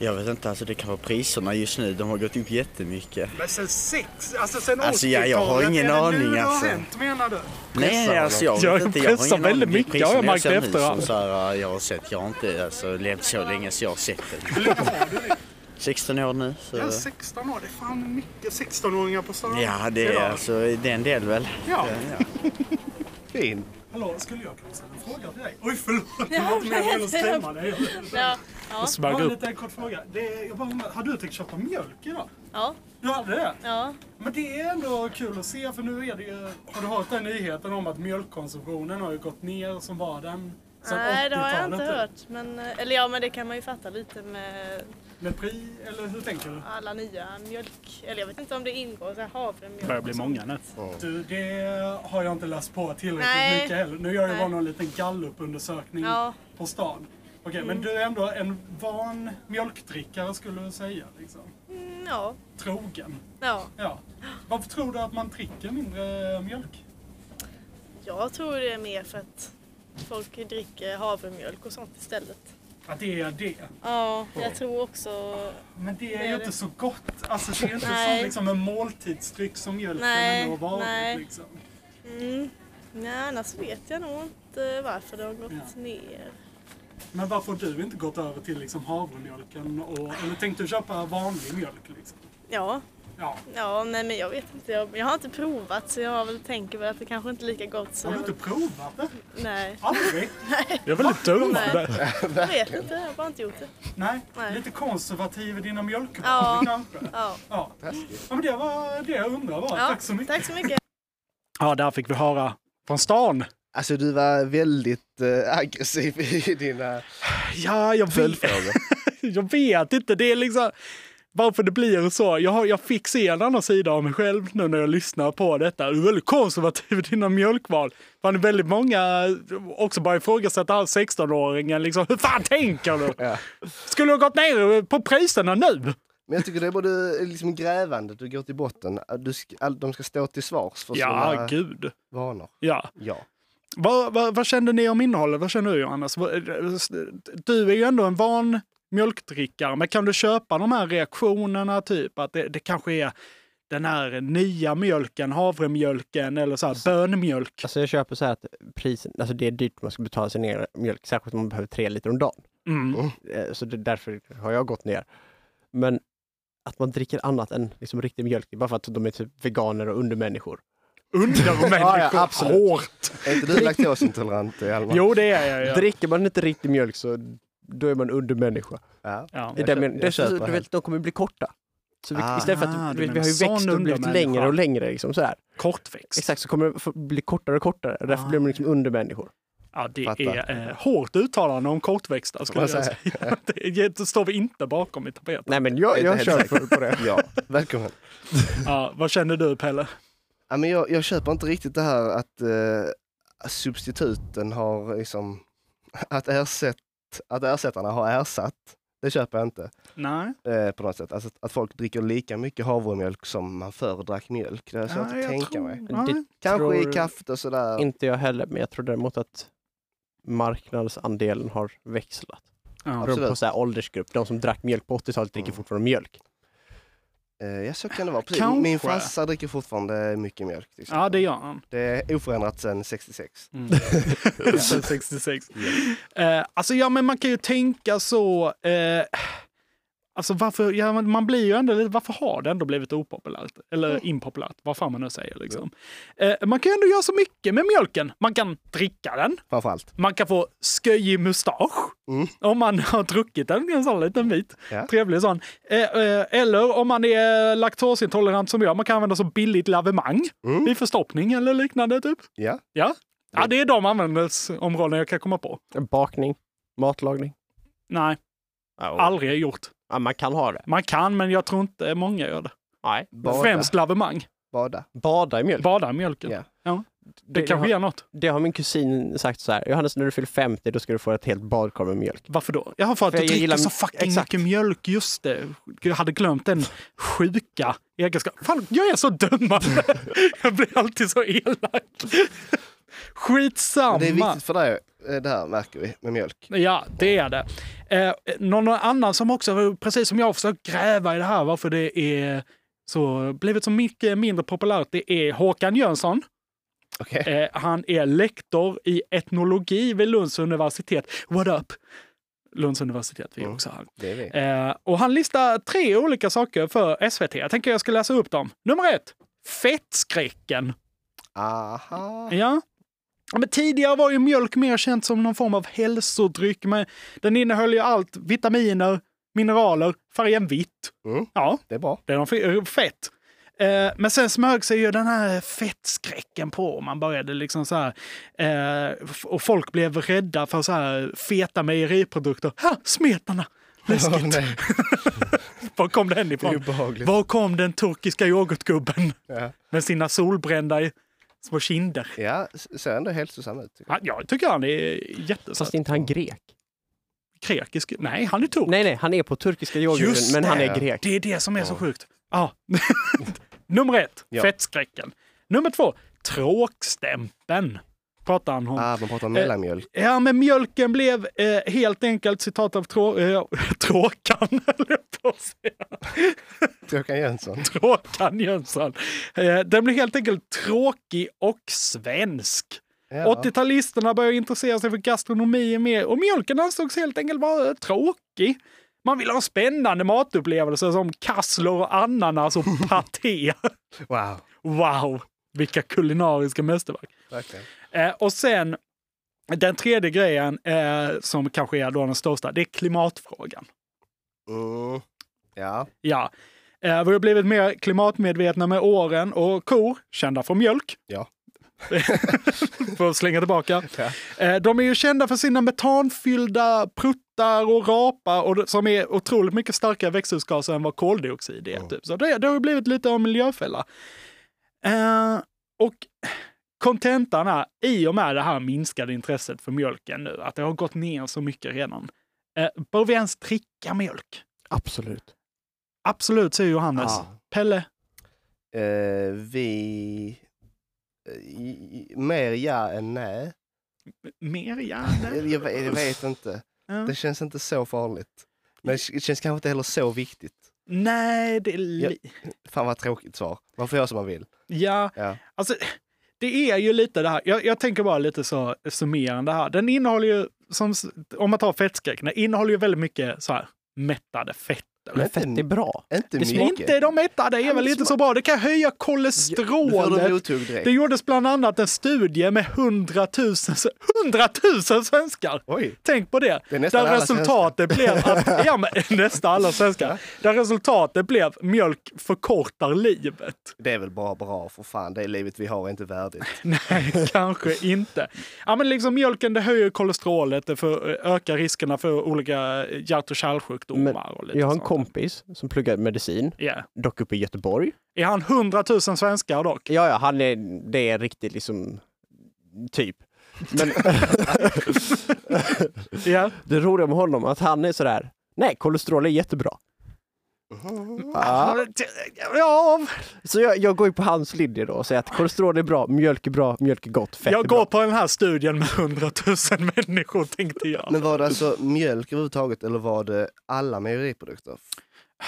Speaker 13: Jag vet inte, alltså det kan vara priserna just nu. De har gått upp jättemycket.
Speaker 2: Men sen sex, alltså sen
Speaker 13: Alltså, ja, jag har
Speaker 2: 80-talet,
Speaker 13: ingen
Speaker 2: är det nu
Speaker 13: aning,
Speaker 2: det har
Speaker 13: alltså.
Speaker 2: hänt menar du?
Speaker 13: Nej, nej, alltså jag vet
Speaker 2: Jag
Speaker 13: inte.
Speaker 2: pressar väldigt mycket,
Speaker 13: Priserna
Speaker 2: har jag märkt
Speaker 13: ser nu
Speaker 2: efterhand.
Speaker 13: Som så här, jag har sett, jag har inte alltså, levt så länge så jag har sett det. 16 år nu. Så.
Speaker 2: Jag är 16 år, det är fan mycket 16-åringar på stan.
Speaker 13: Ja, det är, alltså, det är en del väl.
Speaker 2: Ja.
Speaker 3: Fin.
Speaker 2: Hallå, skulle jag kunna ställa en fråga till dig? Oj, förlåt!
Speaker 8: Ja,
Speaker 2: Jag var inte meningen att
Speaker 8: nej.
Speaker 2: skrämma dig.
Speaker 8: Ja, ja.
Speaker 2: Jag smög upp. Jag har
Speaker 8: upp.
Speaker 2: en liten kort fråga. Det är, jag bara, undrar, har du tänkt köpa mjölk idag?
Speaker 8: Ja.
Speaker 2: Du hade det?
Speaker 8: Ja.
Speaker 2: Men det är ändå kul att se, för nu är det ju... Har du hört den nyheten om att mjölkkonsumtionen har ju gått ner som var den sen
Speaker 14: Nej, det har jag inte
Speaker 2: 80-talet?
Speaker 14: hört. Men, eh, eller ja, men det kan man ju fatta lite med
Speaker 2: Med pri, eller hur tänker du?
Speaker 14: alla nya mjölk... Eller jag vet inte om det ingår så här havremjölk. och sånt.
Speaker 2: nu. Du, det har jag inte läst på tillräckligt
Speaker 14: Nej.
Speaker 2: mycket heller. Nu gör jag
Speaker 14: Nej.
Speaker 2: bara någon liten gallupundersökning
Speaker 14: Ja.
Speaker 2: på stan. Okej, men
Speaker 14: Mm.
Speaker 2: du är ändå en van mjölkdrickare skulle du säga? Liksom.
Speaker 14: Mm, ja.
Speaker 2: Trogen?
Speaker 14: ja.
Speaker 2: Ja. Varför tror du att man dricker mindre mjölk?
Speaker 14: Jag tror det är mer för att folk dricker havremjölk och sånt istället.
Speaker 2: Att det är det?
Speaker 14: Ja, jag tror också...
Speaker 2: Men det är ju inte så gott. Alltså det är ju inte
Speaker 14: Nej.
Speaker 2: som liksom en måltidsdryck som mjölken
Speaker 14: Nej,
Speaker 2: ändå har varit.
Speaker 14: nej.
Speaker 2: Liksom.
Speaker 14: Mm. Nej, annars vet jag nog inte varför det har gått ner.
Speaker 2: Men varför har du inte gått över till liksom havremjölken? Och, eller tänkte du köpa vanlig mjölk? Liksom?
Speaker 14: Ja.
Speaker 2: Ja.
Speaker 14: Ja, nej men jag vet inte. Jag, jag har inte provat så jag har väl tänker väl att det kanske inte är lika gott som...
Speaker 2: Har du inte provat det?
Speaker 14: Nej.
Speaker 2: Aldrig?
Speaker 14: Nej.
Speaker 2: Jag är väldigt dum.
Speaker 14: Nej. Jag vet inte, jag har bara inte gjort det.
Speaker 2: Nej, lite konservativ i dina mjölkvanor
Speaker 14: Ja.
Speaker 2: kanske.
Speaker 14: Ja.
Speaker 2: Ja. ja, men det var det jag undrade bara.
Speaker 14: Ja,
Speaker 2: Tack så mycket.
Speaker 14: Tack så mycket.
Speaker 2: Ja, där fick vi höra från stan.
Speaker 3: Alltså du var väldigt eh, aggressiv i dina...
Speaker 2: Ja, jag vet. jag vet inte. Det är liksom varför det blir så. Jag, har, jag fick se en annan sida av mig själv nu när jag lyssnar på detta. Du är väldigt konservativ i dina mjölkval. Fan, det är väldigt många också bara ifrågasätter all 16-åringen. Liksom, hur fan tänker du? Skulle du ha gått ner på priserna nu?
Speaker 3: Men jag tycker det är både liksom grävande, du går till botten. Du ska, all, de ska stå till svars för
Speaker 2: Ja,
Speaker 3: sina
Speaker 2: gud.
Speaker 3: vanor.
Speaker 2: Ja.
Speaker 3: Ja.
Speaker 2: Vad, vad, vad kände ni om innehållet? Vad känner du Johannes? Vad- Du är ju ändå en van mjölkdrickare, men kan du köpa de här reaktionerna? Typ att det, det kanske är den här nya mjölken, havremjölken eller så här bönmjölk.
Speaker 10: Alltså jag köper så här att priset, alltså det är dyrt man ska betala sin egen mjölk, särskilt om man behöver tre liter om dagen.
Speaker 2: Mm.
Speaker 10: Eh, Så det, därför har jag gått ner. Men att man dricker annat än liksom riktig mjölk, det är bara för att de är typ veganer och undermänniskor.
Speaker 2: undermänniskor hårt.
Speaker 3: Är inte du laktosintolerant, Hjalmar?
Speaker 2: Jo, det är jag. Ja.
Speaker 10: Dricker man inte riktig mjölk så då är man undermänniska.
Speaker 3: Ja.
Speaker 10: Ja,
Speaker 3: jag
Speaker 10: det
Speaker 3: köper-
Speaker 10: men,
Speaker 3: jag
Speaker 10: det, så,
Speaker 3: köper
Speaker 10: du
Speaker 3: helt.
Speaker 10: vet, de kommer bli korta. Så vi,
Speaker 3: Ah,
Speaker 10: istället för att
Speaker 3: du
Speaker 10: du vet,
Speaker 3: menar
Speaker 10: vi har ju
Speaker 3: sån
Speaker 10: växt och blivit
Speaker 3: undermänniska.
Speaker 10: längre och längre. Liksom, så här.
Speaker 2: Kortväxt.
Speaker 10: Exakt, så kommer de få bli kortare och kortare. Och därför blir de liksom undermänniskor.
Speaker 2: Ja, det
Speaker 10: Fattar.
Speaker 2: är eh, hårt uttalande om kortväxta skulle jag
Speaker 10: Vad
Speaker 2: säga.
Speaker 10: säger
Speaker 2: Det, det står vi inte bakom i tapeten.
Speaker 10: Nej, men
Speaker 3: Jag är inte helt säker. ja, välkommen.
Speaker 2: Ja, vad känner du Pelle?
Speaker 3: Ja, men jag, jag köper inte riktigt det här att eh, substituten har liksom, att, ersätt, att ersättarna har ersatt. Det köper jag inte.
Speaker 2: Nej.
Speaker 3: Eh, på något sätt. Alltså att, att folk dricker lika mycket havremjölk som man förr drack mjölk. Det har jag svårt
Speaker 2: Nej,
Speaker 3: att
Speaker 2: Ah, jag
Speaker 3: tänka
Speaker 2: tror-
Speaker 3: mig.
Speaker 2: nej. Det
Speaker 3: Kanske
Speaker 10: tror
Speaker 3: i kaffet och sådär.
Speaker 10: Inte jag heller, men jag tror däremot att marknadsandelen har växlat.
Speaker 2: Ja.
Speaker 10: Beroende på
Speaker 3: Absolut.
Speaker 10: så här åldersgrupp. De som drack mjölk på 80-talet dricker fortfarande mjölk.
Speaker 3: Eh, ja, så kan det vara. Precis.
Speaker 2: Kanske.
Speaker 3: Min farsa dricker fortfarande mycket mjölk. till exempel.
Speaker 2: Ja, det gör han.
Speaker 3: Det är oförändrat sedan 66.
Speaker 2: Sen 66. Mm. Eh, alltså, ja, men man kan ju tänka så. Eh, alltså, varför, ja, men man blir ju ändå lite, varför har det ändå blivit opopulärt? Eller impopulärt, vad fan man nu säger. Liksom. Eh, man kan ju ändå göra så mycket med mjölken. Man kan dricka den.
Speaker 3: Framförallt.
Speaker 2: Man kan få sköjig mustasch om man har druckit en, en sån liten bit.
Speaker 3: Ja.
Speaker 2: Trevlig sån. Eh, eh, eller om man är laktosintolerant som jag, man kan använda som billigt lavemang vid förstoppning eller liknande. typ.
Speaker 3: Ja.
Speaker 2: Ja. ja, det är de användningsområden jag kan komma på.
Speaker 10: Bakning, matlagning.
Speaker 2: Nej, aldrig gjort.
Speaker 10: Ja, man kan ha det.
Speaker 2: Man kan, men jag tror inte många gör det.
Speaker 10: Nej.
Speaker 2: Bada. Främst lavemang.
Speaker 3: Bada.
Speaker 10: Bada i mjölk.
Speaker 2: Bada i mjölken. Ja. Det, kanske
Speaker 10: har-
Speaker 2: ger något.
Speaker 10: Det har min kusin sagt så här. Johannes, när du fyller 50 då ska du få ett helt badkar med mjölk.
Speaker 2: Varför då? Jag har för att
Speaker 10: För
Speaker 2: du
Speaker 10: jag
Speaker 2: dricker
Speaker 10: gillar-
Speaker 2: så fucking
Speaker 10: exakt.
Speaker 2: mycket mjölk. Just det. Jag hade glömt den sjuka egenskapen. Fan, jag är så dömande. jag blir alltid så elak. Skitsamma.
Speaker 3: Men Det är viktigt för dig, eh, det här märker vi med mjölk.
Speaker 2: Ja, det är det. Eh, någon annan som också, precis som jag, har försökt gräva i det här varför det är så, blivit så mycket mindre populärt, det är Håkan Jönsson. Eh, han är lektor i etnologi vid Lunds universitet. What up? Lunds universitet, vi är också här.
Speaker 3: Det är vi.
Speaker 2: Eh, och han listar tre olika saker för SVT. Jag tänker jag ska läsa upp dem. Nummer ett, fettskräcken.
Speaker 3: Aha.
Speaker 2: Ja. Ja, Men tidigare var ju mjölk mer känt som någon form av hälsodryck. Men den innehöll ju allt. Vitaminer, mineraler, färgen vitt. Ja,
Speaker 3: det är bra.
Speaker 2: Det är de fe- fett. Eh, Men sen smög sig ju den här fettskräcken på. Man började liksom så här. eh, f- Och folk blev rädda för så här feta mejeriprodukter. Ha, smetarna! Läskigt. Var kom den ifrån? Var kom den turkiska yoghurtgubben
Speaker 3: Ja.
Speaker 2: med sina solbrända i- små kinder?
Speaker 3: Ja, s- ser ändå hälsosam ut.
Speaker 2: Ja, jag tycker han är jättesöt.
Speaker 10: Fast inte han grek.
Speaker 2: Grekisk? Nej, han är turk.
Speaker 10: Nej, nej, han är på turkiska yoghurten,
Speaker 2: Just
Speaker 10: men
Speaker 2: det.
Speaker 10: han är grek.
Speaker 2: Det är det som är så sjukt. Ja. Nummer ett,
Speaker 10: Ja.
Speaker 2: fettskräcken. Nummer två, tråkstämpeln. Pratar han om.
Speaker 3: Ah, man pratar om mellanmjölk.
Speaker 2: Ja, men mjölken blev eh, helt enkelt citat av trå, eh, tråkan, höll jag på att säga.
Speaker 3: Håkan Jönsson.
Speaker 2: Tråkan Jönsson. Eh, den blev helt enkelt tråkig och svensk.
Speaker 3: Ja.
Speaker 2: 80-talisterna började intressera sig för gastronomi mer och mjölken ansågs helt enkelt vara eh, tråkig. Man ville ha spännande matupplevelser som kassler och ananas och paté.
Speaker 3: Wow.
Speaker 2: Wow, vilka kulinariska mästerverk.
Speaker 3: Verkligen.
Speaker 2: Eh, och sen, den tredje grejen eh, som kanske är då den största, det är klimatfrågan.
Speaker 3: Mm. Ja.
Speaker 2: Ja. Eh, vi har blivit mer klimatmedvetna med åren och kor, kända för mjölk,
Speaker 3: Ja.
Speaker 2: för att slänga tillbaka, eh, de är ju kända för sina metanfyllda pruttar och rapar och, det- som är otroligt mycket starkare växthusgaser än vad koldioxid är. Typ. Så det, det har ju blivit lite av en miljöfälla. Eh, och kontentan är, i och med det här minskade intresset för mjölken nu, att det har gått ner så mycket redan, eh, bör vi ens dricka mjölk?
Speaker 10: Absolut.
Speaker 2: Absolut, säger Johannes.
Speaker 3: Ja.
Speaker 2: Pelle?
Speaker 3: Ah. Eh, vi... eh, i- i- Mer ja än nej.
Speaker 2: Mer ja
Speaker 3: Jag, jag, vet- jag vet inte.
Speaker 2: Ja.
Speaker 3: Det känns inte så farligt. Men det k- känns kanske inte heller så viktigt.
Speaker 2: Nej, det är...
Speaker 3: Jag,
Speaker 2: Li-
Speaker 3: fan vad tråkigt svar. Man får göra som man vill.
Speaker 2: ja.
Speaker 3: Ja.
Speaker 2: Alltså, det är ju lite det här. Jag, jag tänker bara lite så summerande här. Den innehåller ju, som, s- om man tar fettskräck, den innehåller ju väldigt mycket så här mättade fetter.
Speaker 10: Men fett är bra.
Speaker 3: Inte
Speaker 10: det
Speaker 2: Inte, inte de etta, det är väl inte så bra. Det kan höja kolesterolet.
Speaker 3: blodtugg direkt.
Speaker 2: Det gjordes bland annat en studie med 100 000, s- 100 000 svenskar. Tänk på det.
Speaker 3: nästan
Speaker 2: Där
Speaker 3: alla
Speaker 2: resultatet blev att, ja men nästan alla svenskar. Där resultatet blev mjölk förkortar livet.
Speaker 3: Det är väl bara bra för fan, det livet vi har är inte värdigt.
Speaker 2: Nej, kanske inte. Ja, men liksom mjölken det höjer kolesterolet, det för, ökar riskerna för olika eh, hjärt och kärlsjukdomar. och lite
Speaker 10: Jag har en
Speaker 2: sånt.
Speaker 10: kompis som pluggar medicin,
Speaker 2: Ja.
Speaker 10: dock uppe i Göteborg.
Speaker 2: Är han 100 000 svenskar dock?
Speaker 10: Ja, ja, han är, det är riktigt liksom, typ. Men det roliga med honom är att han är sådär, nej, kolesterol är jättebra. Ja.
Speaker 2: Ja.
Speaker 10: Så jag, jag går ju på hans linje då och säger att kolesterol är bra, mjölk är bra, mjölk är gott, fett
Speaker 2: Jag
Speaker 10: är bra.
Speaker 2: går på den här studien med 100 000 människor tänkte jag.
Speaker 3: Men var det alltså mjölk överhuvudtaget eller var det alla mejeriprodukter?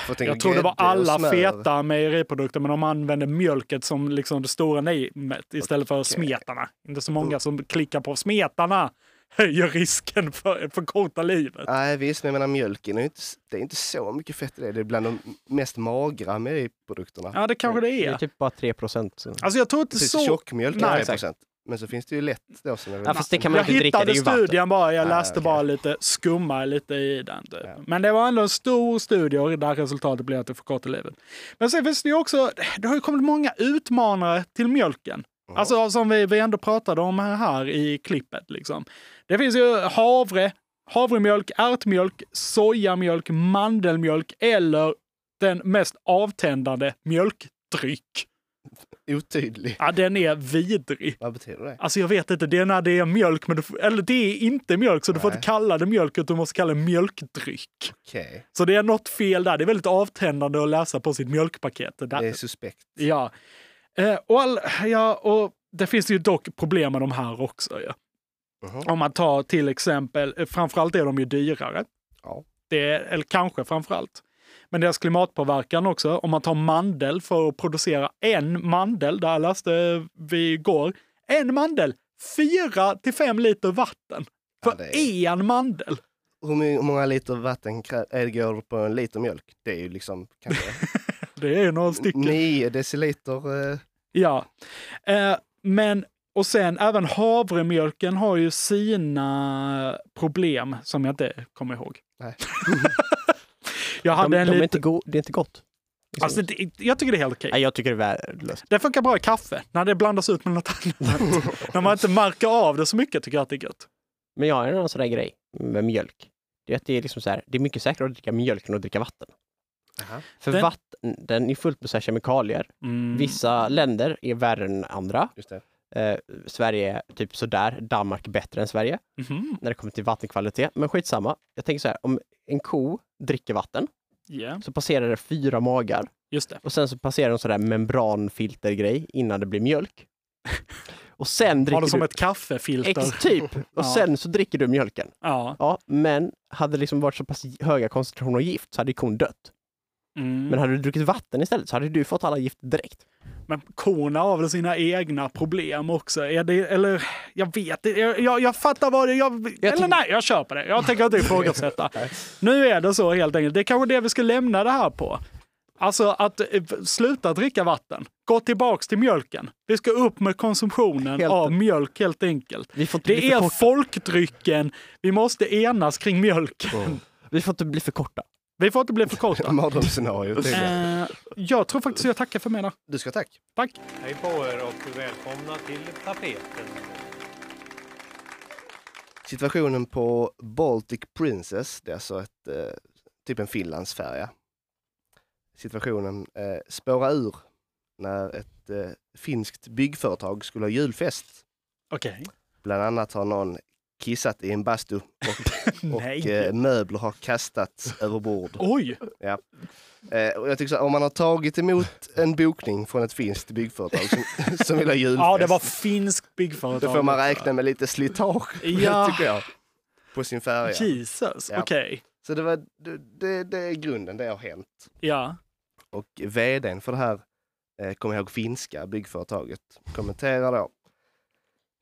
Speaker 3: För tänker
Speaker 2: Jag tror det var
Speaker 3: grädde och
Speaker 2: alla
Speaker 3: smör.
Speaker 2: feta mejeriprodukter, men de använde mjölket som liksom det stora nemet istället för smetarna. Inte så många som klickar på smetarna höjer risken för, för korta livet.
Speaker 3: Nej visst, men jag menar mjölken, är ju inte, det är inte så mycket fett i det. Det är bland de mest magra mejeriprodukterna.
Speaker 2: Ja, det kanske det är.
Speaker 10: Det är typ bara 3 procent.
Speaker 2: Alltså jag tror inte
Speaker 3: Precis,
Speaker 2: så...
Speaker 3: Tjockmjölk är
Speaker 2: Nej.
Speaker 3: 3 procent. Men så finns det ju lätt då som är väl-
Speaker 10: Ja, fast det kan man ju
Speaker 2: jag
Speaker 10: inte dricka,
Speaker 2: hittade
Speaker 10: det är ju vatten.
Speaker 2: studien bara, jag
Speaker 10: Ah,
Speaker 2: läste
Speaker 10: okej.
Speaker 2: bara lite, skummar lite i den. Typ. Men det var ändå en stor studie och där resultatet blev att det förkortar livet. Men sen finns det ju också, det har ju kommit många utmanare till mjölken. Alltså som vi, vi ändå pratade om här i klippet. Liksom. Det finns ju havre, havremjölk, ärtmjölk, sojamjölk, mandelmjölk eller den mest avtändande mjölkdryck.
Speaker 3: Otydlig.
Speaker 2: Ja, den är vidrig.
Speaker 3: Vad betyder det?
Speaker 2: Alltså jag vet inte, det är när det är mjölk, men du, får- eller det är inte mjölk så du får
Speaker 3: Nej.
Speaker 2: inte kalla det mjölk utan du måste kalla det mjölkdryck.
Speaker 3: Okej.
Speaker 2: Så det är något fel där. Det är väldigt avtändande att läsa på sitt mjölkpaket. Det, där.
Speaker 3: Det är suspekt.
Speaker 2: Ja. Eh, och, all, ja, och det finns ju dock problem med de här också. Ja. Om man tar till exempel, eh, framförallt är de ju dyrare. Det är, eller kanske framförallt. Men deras klimatpåverkan också. Om man tar mandel för att producera en mandel, där läste vi igår. En mandel, 4 till 5 liter vatten. För en mandel.
Speaker 3: Hur my- hur många liter vatten krä- äh, går på en liter mjölk? Det är ju liksom kanske
Speaker 2: Det är ju några stycken.
Speaker 3: 9 deciliter. eh,
Speaker 2: Ja. Eh, men, och sen även havremjölken har ju sina problem som jag inte kommer ihåg.
Speaker 3: Nej.
Speaker 2: jag hade
Speaker 10: de,
Speaker 2: en
Speaker 10: de är
Speaker 2: liten...
Speaker 10: inte go- det är inte gott.
Speaker 2: Alltså, det, jag tycker det är helt okej.
Speaker 10: Nej, jag tycker det är värdelöst.
Speaker 2: Det funkar bra i kaffe, när det blandas ut med något annat. när man inte märker av det så mycket tycker jag att det är gött.
Speaker 10: Men jag har en annan sån där grej med mjölk. Det är att det är liksom så här, det är mycket säkrare att dricka mjölk än att dricka vatten. För
Speaker 2: Den-
Speaker 10: vatten, den är fullt med så här kemikalier.
Speaker 2: Mm.
Speaker 10: Vissa länder är värre än andra.
Speaker 3: Just det.
Speaker 10: Eh, Sverige är typ sådär, Danmark är bättre än Sverige
Speaker 2: Mhm.
Speaker 10: när det kommer till vattenkvalitet. Men skitsamma, jag tänker så här, om en ko dricker vatten
Speaker 2: Ja.
Speaker 10: så passerar det fyra magar.
Speaker 2: Just det.
Speaker 10: Och sen så passerar det en sån där membranfiltergrej innan det blir mjölk. Och sen dricker
Speaker 2: Har det som
Speaker 10: du...
Speaker 2: ett kaffefilter.
Speaker 10: Ex typ!
Speaker 2: Ja.
Speaker 10: Och sen så dricker du mjölken.
Speaker 2: Ja.
Speaker 10: men hade det liksom varit så pass höga koncentrationer av gift så hade ju kon dött.
Speaker 2: Mm.
Speaker 10: Men hade du druckit vatten istället så hade du fått alla gift direkt.
Speaker 2: Men korna har väl sina egna problem också? Är det, eller jag vet inte. jag, jag, jag fattar vad det jag, Eller nej, jag köper det. Jag tänker inte ifrågasätta. nu är det så helt enkelt. Det är kanske det vi ska lämna det här på. Alltså att eh, sluta dricka vatten. Gå tillbaks till mjölken. Vi ska upp med konsumtionen av mjölk helt enkelt.
Speaker 10: bli
Speaker 2: det
Speaker 10: för
Speaker 2: är
Speaker 10: korta.
Speaker 2: folkdrycken. Vi måste enas kring mjölken.
Speaker 10: Vi får inte bli för korta.
Speaker 2: Vi får inte bli för korta.
Speaker 3: Mardrömsscenariot. är det.
Speaker 2: Eh, jag tror faktiskt jag tackar för mig då.
Speaker 3: Du ska tack.
Speaker 2: Tack.
Speaker 9: Hej på er och välkomna till tapeten.
Speaker 3: Situationen på Baltic Princess, det är alltså ett, eh, typ en Finlandsfärja. Situationen eh, spårar ur när ett eh, finskt byggföretag skulle ha julfest.
Speaker 2: Okej.
Speaker 3: Bland annat har någon kissat i en bastu och, och
Speaker 2: Nej.
Speaker 3: eh, möbler har kastats över bord.
Speaker 2: Oj!
Speaker 3: Ja. Eh, och jag tycker så, här, om man har tagit emot en bokning från ett finskt byggföretag som, som vill ha julfest.
Speaker 2: Ja, det var finskt byggföretag.
Speaker 3: Då får man räkna med lite slitage,
Speaker 2: Ja.
Speaker 3: tycker jag. På sin färja.
Speaker 2: Jesus, okej.
Speaker 3: Så det, var, det, det, det är grunden, det har hänt.
Speaker 2: Ja.
Speaker 3: Och vdn för det här, eh, kommer jag ihåg, finska byggföretaget kommenterar då.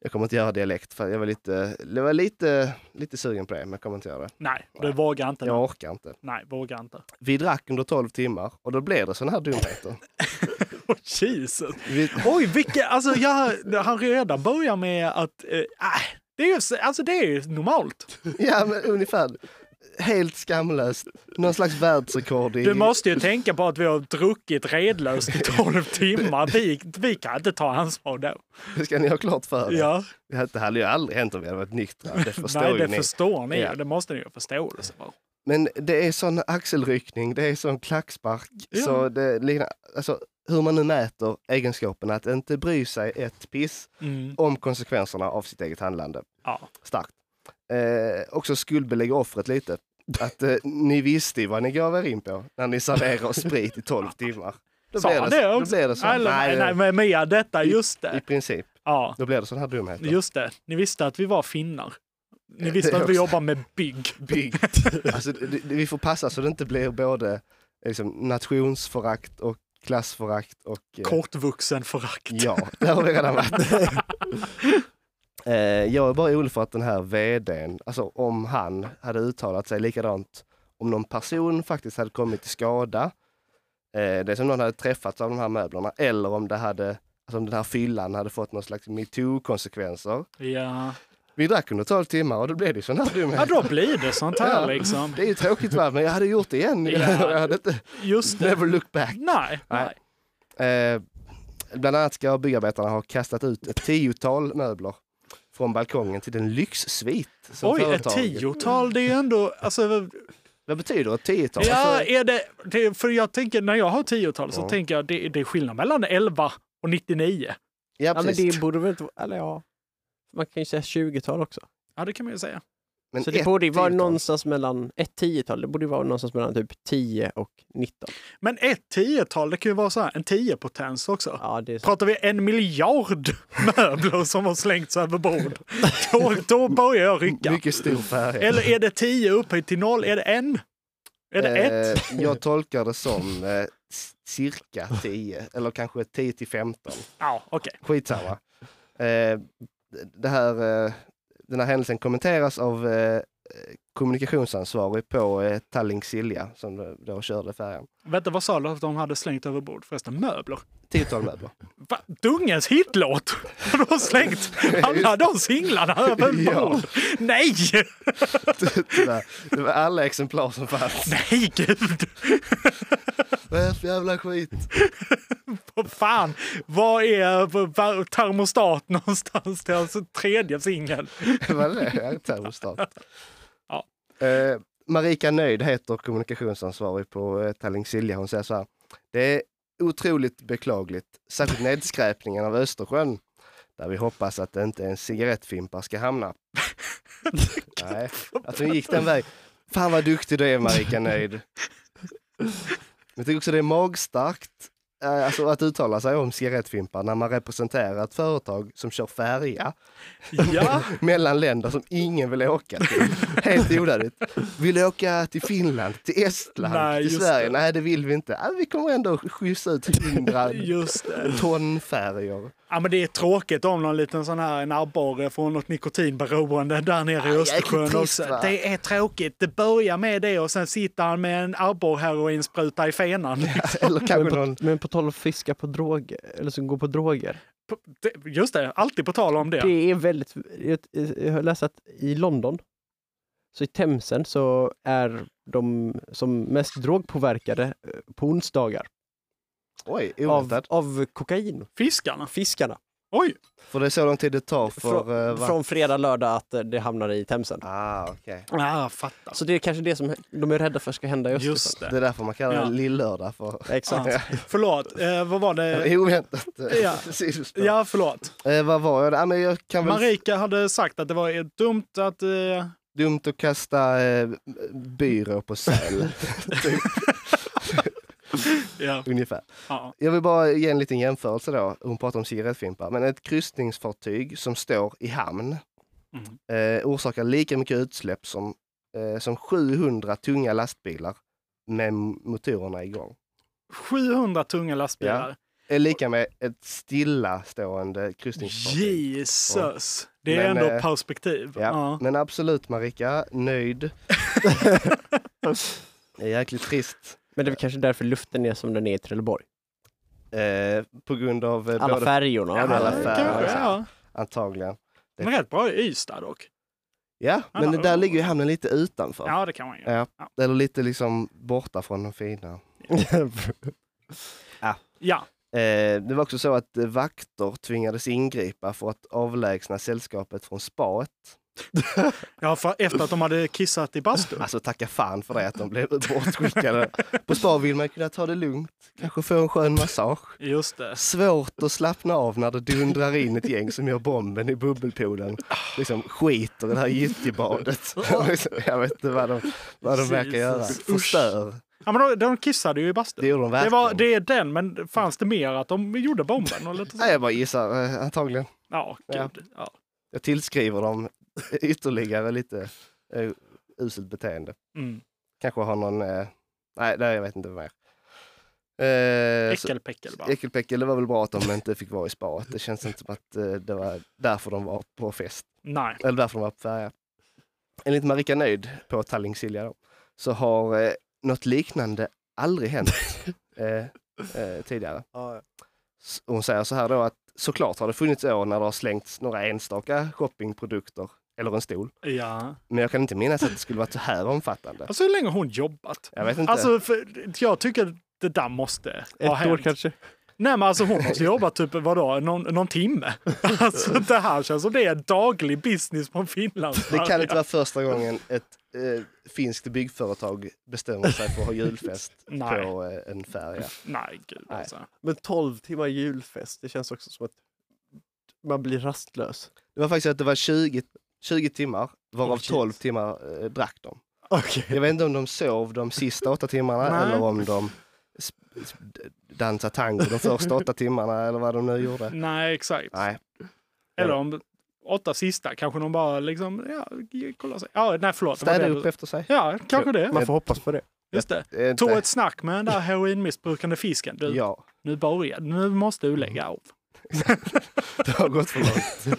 Speaker 3: Jag kommer inte göra dialekt för jag var lite, jag var lite, lite sugen på det, men jag kommer inte göra det.
Speaker 2: Nej, det vågar inte.
Speaker 3: Jag
Speaker 2: nu.
Speaker 3: orkar inte.
Speaker 2: Nej, vågar inte.
Speaker 3: Vi drack under 12 timmar och då blev det sådana här dumheter.
Speaker 2: oh, Jesus! Oj, vilka, alltså jag, han redan börjar med att, eh, ah, det är ju, s- alltså det är ju normalt.
Speaker 3: ja, men ungefär. Helt skamlöst. Någon slags världsrekord i...
Speaker 2: Du måste ju tänka på att vi har druckit redlöst i 12 timmar. Vi, vi kan inte ta ansvar då.
Speaker 3: Det ska ni ha klart för er.
Speaker 2: Ja.
Speaker 3: Det hade ju aldrig hänt om vi hade varit nyktra. Det förstår
Speaker 2: Nej,
Speaker 3: ju
Speaker 2: det
Speaker 3: ni.
Speaker 2: förstår ni.
Speaker 3: Ja.
Speaker 2: Det måste ni ju ha förståelse för.
Speaker 3: Men det är sån axelryckning, det är sån klackspark.
Speaker 2: Ja.
Speaker 3: Så det liknar, alltså, hur man nu mäter egenskapen att inte bry sig ett piss
Speaker 2: Mm.
Speaker 3: om konsekvenserna av sitt eget handlande.
Speaker 2: Ja.
Speaker 3: Starkt. Eh, också skuldbelägga offret lite. Att eh, ni visste ju vad ni gav er in på när ni serverade oss sprit i 12 timmar. Då
Speaker 2: Sa
Speaker 3: blir
Speaker 2: han
Speaker 3: det,
Speaker 2: det
Speaker 3: då
Speaker 2: också?
Speaker 3: blir det så.
Speaker 2: Eller, nej, nej, men Mia, detta, just det.
Speaker 3: I princip.
Speaker 2: Ja.
Speaker 3: Då blir det sån här dumheter.
Speaker 2: Just det, ni visste att vi var finnar. Ni
Speaker 3: Eh,
Speaker 2: visste
Speaker 3: det
Speaker 2: att vi
Speaker 3: också.
Speaker 2: jobbar med bygg.
Speaker 3: Bygg. Alltså, det, det, vi får passa så det inte blir både eh, liksom, nationsförakt och klassförakt och... eh,
Speaker 2: Kortvuxenförakt.
Speaker 3: Ja, där har vi redan varit. eh, jag är bara orolig för att den här vdn, alltså om han hade uttalat sig likadant om någon person faktiskt hade kommit till skada. Eh, det är som någon hade träffats av de här möblerna eller om det hade, alltså om den här fyllan hade fått någon slags metoo-konsekvenser.
Speaker 2: Ja.
Speaker 3: Vi drack under 12 timmar och då blev det sån här dumhet.
Speaker 2: ja, då blir det sånt här
Speaker 3: Ja,
Speaker 2: liksom.
Speaker 3: Det är ju tråkigt va, men jag hade gjort det igen.
Speaker 2: Ja.
Speaker 3: Jag hade inte,
Speaker 2: Just det.
Speaker 3: Never look back.
Speaker 2: Nej, nej.
Speaker 3: Eh, bland annat ska byggarbetarna ha kastat ut ett tiotal möbler från balkongen till en lyxsvit. Som
Speaker 2: Oj, ett
Speaker 3: företaget-
Speaker 2: tiotal, det är ju ändå... Alltså,
Speaker 3: Vad betyder ett tiotal?
Speaker 2: ja,
Speaker 3: Alltså,
Speaker 2: är det, det, för jag tänker, när jag har tiotal så
Speaker 3: Ja.
Speaker 2: tänker jag det, det är skillnad mellan 11 och 99.
Speaker 3: ja,
Speaker 10: men
Speaker 3: precis.
Speaker 10: det borde väl inte vara... Eller ja. Man kan ju säga 20-tal också.
Speaker 2: Ja, det kan man ju säga.
Speaker 3: Men
Speaker 10: så det
Speaker 2: ett
Speaker 10: borde ju vara
Speaker 2: tiotal.
Speaker 10: någonstans mellan... Ett tiotal, det borde ju vara någonstans mellan typ 10 och 19.
Speaker 2: Men ett tiotal, det kan ju vara så här, en tiopotens också.
Speaker 10: Ja, det är så.
Speaker 2: Pratar vi en miljard möbler som har slängts över bord, då, då börjar jag rycka.
Speaker 3: Mycket stor färg.
Speaker 2: Eller är det tio upphöjt till noll? Är det en? Är det ett?
Speaker 3: Eh, jag tolkar det som eh, c- cirka 10, eller kanske 10 till 15.
Speaker 2: Ja, okej.
Speaker 3: Skitsamma. Eh, det här, eh, den här händelsen kommenteras av eh, kommunikationsansvarig på eh, Tallink Silja som då körde färjan.
Speaker 2: Vänta, vad sa du att de hade slängt över bord? Förresten, möbler?
Speaker 3: Tiotal möbler.
Speaker 2: Va? Dungens hitlåt! De har slängt alla de singlarna över
Speaker 3: Ja.
Speaker 2: bord! Nej!
Speaker 3: Tyvärr. Det var alla exemplar som fanns.
Speaker 2: Nej, gud!
Speaker 3: Vad är det för jävla skit?
Speaker 2: Vad fan, var är var- termostat någonstans till hans tredje singel?
Speaker 3: Vad är det? Jag är termostat.
Speaker 2: Ja.
Speaker 3: Eh, Marika Nöjd heter kommunikationsansvarig på eh, Tallink Silja. Hon säger så här. Det är otroligt beklagligt, särskilt nedskräpningen av Östersjön. Där vi hoppas att det inte en cigarettfimpar ska hamna. Nej, att hon gick den vägen. Fan vad duktig du är Marika Nöjd. Men jag tycker också det är magstarkt eh, alltså, att uttala sig om cigarettfimpar när man representerar ett företag som kör färja
Speaker 2: Ja.
Speaker 3: mellan länder som ingen vill åka till. Helt onödigt. Vill du åka till Finland, till Estland,
Speaker 2: Nej,
Speaker 3: till
Speaker 2: just
Speaker 3: Sverige?
Speaker 2: det.
Speaker 3: Nej, det vill vi inte. Ah, vi kommer ändå skjutsa ut hundra
Speaker 2: Just det.
Speaker 3: ton färger.
Speaker 2: Ja, men det är tråkigt om någon liten sån här en abborre från något nikotinberoende där nere i
Speaker 3: jäkligt
Speaker 2: Östersjön
Speaker 3: trist,
Speaker 2: också.
Speaker 3: va?
Speaker 2: Det är tråkigt. Det börjar med det och sen sitter han med en abborrheroinspruta i fenan.
Speaker 3: Eller
Speaker 10: Men
Speaker 3: kanske
Speaker 10: på,
Speaker 3: någon...
Speaker 10: men på tal om fiska på droger, eller som går på droger.
Speaker 2: Det- Just det, alltid på tal om det.
Speaker 10: Det är väldigt... Jag, jag har läst att i London, så i Themsen så är de som mest drogpåverkade eh, på onsdagar
Speaker 3: Oj,
Speaker 10: av,
Speaker 3: oväntat.
Speaker 10: av kokain.
Speaker 2: Fiskarna?
Speaker 10: Fiskarna.
Speaker 2: Oj!
Speaker 3: För det är så lång tid det tar för... eh,
Speaker 10: Från,
Speaker 3: va-
Speaker 10: från fredag, lördag att eh, det hamnar i Themsen.
Speaker 3: Ah, okej.
Speaker 2: Ah, fattar.
Speaker 10: Så det är kanske det som de är rädda för ska hända i Östersjön.
Speaker 2: Just
Speaker 3: Det är
Speaker 2: det.
Speaker 3: därför man kallar det
Speaker 2: Ja.
Speaker 3: lill-lördag. För...
Speaker 10: Exakt.
Speaker 3: Ja.
Speaker 2: Förlåt, eh, vad var det?
Speaker 3: Oväntat.
Speaker 2: Ja.
Speaker 3: Sidospår.
Speaker 2: Ja, förlåt.
Speaker 3: Eh, vad var jag? Ja, men jag kan väl...
Speaker 2: Marika hade sagt att det var eh, dumt att... Eh,
Speaker 3: Dumt att kasta eh, byrå på säl. typ,
Speaker 2: ja.
Speaker 3: ungefär.
Speaker 2: Ja.
Speaker 3: Jag vill bara ge en liten jämförelse då. Hon pratar om cigarettfimpar. Men ett kryssningsfartyg som står i hamn
Speaker 2: Mm.
Speaker 3: eh, orsakar lika mycket utsläpp som, eh, som 700 tunga lastbilar med m- motorerna igång.
Speaker 2: 700 tunga lastbilar.
Speaker 3: är lika med ett stillastående kryssningsfartyg.
Speaker 2: Jesus! Det är ändå
Speaker 3: eh,
Speaker 2: perspektiv.
Speaker 3: Ja. Men absolut Marika, nöjd. det är jäkligt trist.
Speaker 10: Men det är väl kanske därför luften är som den är i Trelleborg?
Speaker 3: på grund av... eh,
Speaker 10: Alla
Speaker 3: både-
Speaker 10: färjorna.
Speaker 3: Ja, alla
Speaker 10: Det-
Speaker 3: färger.
Speaker 2: kanske, ja.
Speaker 3: Antagligen. Det-
Speaker 2: Men rätt bra i Ystad dock.
Speaker 3: Ja,
Speaker 2: Ja,
Speaker 3: men
Speaker 2: då-
Speaker 3: det där ligger ju hamnen lite utanför.
Speaker 2: Ja, det kan man ju.
Speaker 3: Ja. Eller lite liksom borta från de fina. ja.
Speaker 2: Ja.
Speaker 3: Eh, det var också så att eh, vakter tvingades ingripa för att avlägsna sällskapet från spaet.
Speaker 2: Ja, för efter att de hade kissat i bastun.
Speaker 3: Alltså tacka fan för det att de blev bortskickade. På spa vill man kunna ta det lugnt, kanske få en skön massage.
Speaker 2: Just det.
Speaker 3: Svårt att slappna av när det dundrar in ett gäng som gör bomben i bubbelpoolen. Liksom skiter i det här gyttjebadet. Liksom, Jag vet inte vad de, vad de verkar göra.
Speaker 2: Jesus.
Speaker 3: Förstör.
Speaker 2: Ja, men de, de kissade ju i bastun.
Speaker 3: Det gjorde de
Speaker 2: Det,
Speaker 3: verkligen.
Speaker 2: var, det är den, men fanns det mer att de gjorde bomben? Och lite så?
Speaker 3: Nej, jag bara gissar eh, antagligen.
Speaker 2: Ja, gud. Ja.
Speaker 3: Jag tillskriver dem ytterligare lite eh, uselt beteende.
Speaker 2: Mm.
Speaker 3: Kanske har någon... Eh, nej, nej, jag vet inte mer. Eh, så-
Speaker 2: Äckelpäckel bara.
Speaker 3: Äckelpäckel, det var väl bra att de inte fick vara i spaet. Det känns inte som att eh, det var därför de var på fest.
Speaker 2: Nej.
Speaker 3: Eller därför de var på färja. Enligt Marika Nöjd på Tallingsilja då, så har eh, något liknande aldrig hänt eh, eh, tidigare. S- Hon säger så här då att såklart har det funnits år när det har slängts några enstaka shoppingprodukter eller en stol.
Speaker 2: Ja.
Speaker 3: Men jag kan inte minnas att det skulle vara så här omfattande.
Speaker 2: Alltså hur länge har hon jobbat?
Speaker 3: Jag vet inte.
Speaker 2: Alltså, för, jag tycker att det där måste ha
Speaker 10: Ett
Speaker 2: hänt.
Speaker 10: år kanske.
Speaker 2: Nej men alltså hon måste jobba typ vadå, någon, någon timme. Alltså det här känns som det är daglig business på Finland.
Speaker 3: Det kan inte vara första gången ett eh, finskt byggföretag bestämmer sig för att ha julfest
Speaker 2: Nej.
Speaker 3: på eh, en färja.
Speaker 2: Nej, gud alltså.
Speaker 10: Men 12 timmar julfest, det känns också som att man blir rastlös.
Speaker 3: Det var faktiskt att det var 20, 20 timmar, varav
Speaker 10: Oh, shit.
Speaker 3: 12 timmar eh, drack de. Jag vet inte om de sov de sista åtta timmarna
Speaker 10: Nej.
Speaker 3: eller om de sp- sp- dansade tango de första åtta timmarna eller vad de nu gjorde.
Speaker 2: Nej exakt.
Speaker 3: Nej.
Speaker 2: Eller om åtta sista kanske de bara liksom, ja, kolla sig. Ja, nej förlåt. det var
Speaker 3: Städa
Speaker 2: det.
Speaker 3: upp efter sig.
Speaker 2: Ja, kanske det.
Speaker 10: Man får hoppas på det.
Speaker 2: Just det.
Speaker 3: Eh,
Speaker 2: Tog
Speaker 3: inte-
Speaker 2: ett snack med den där heroinmissbrukande fisken. Du,
Speaker 3: Ja.
Speaker 2: nu börjar, nu måste du lägga av.
Speaker 3: Det har gått för långt.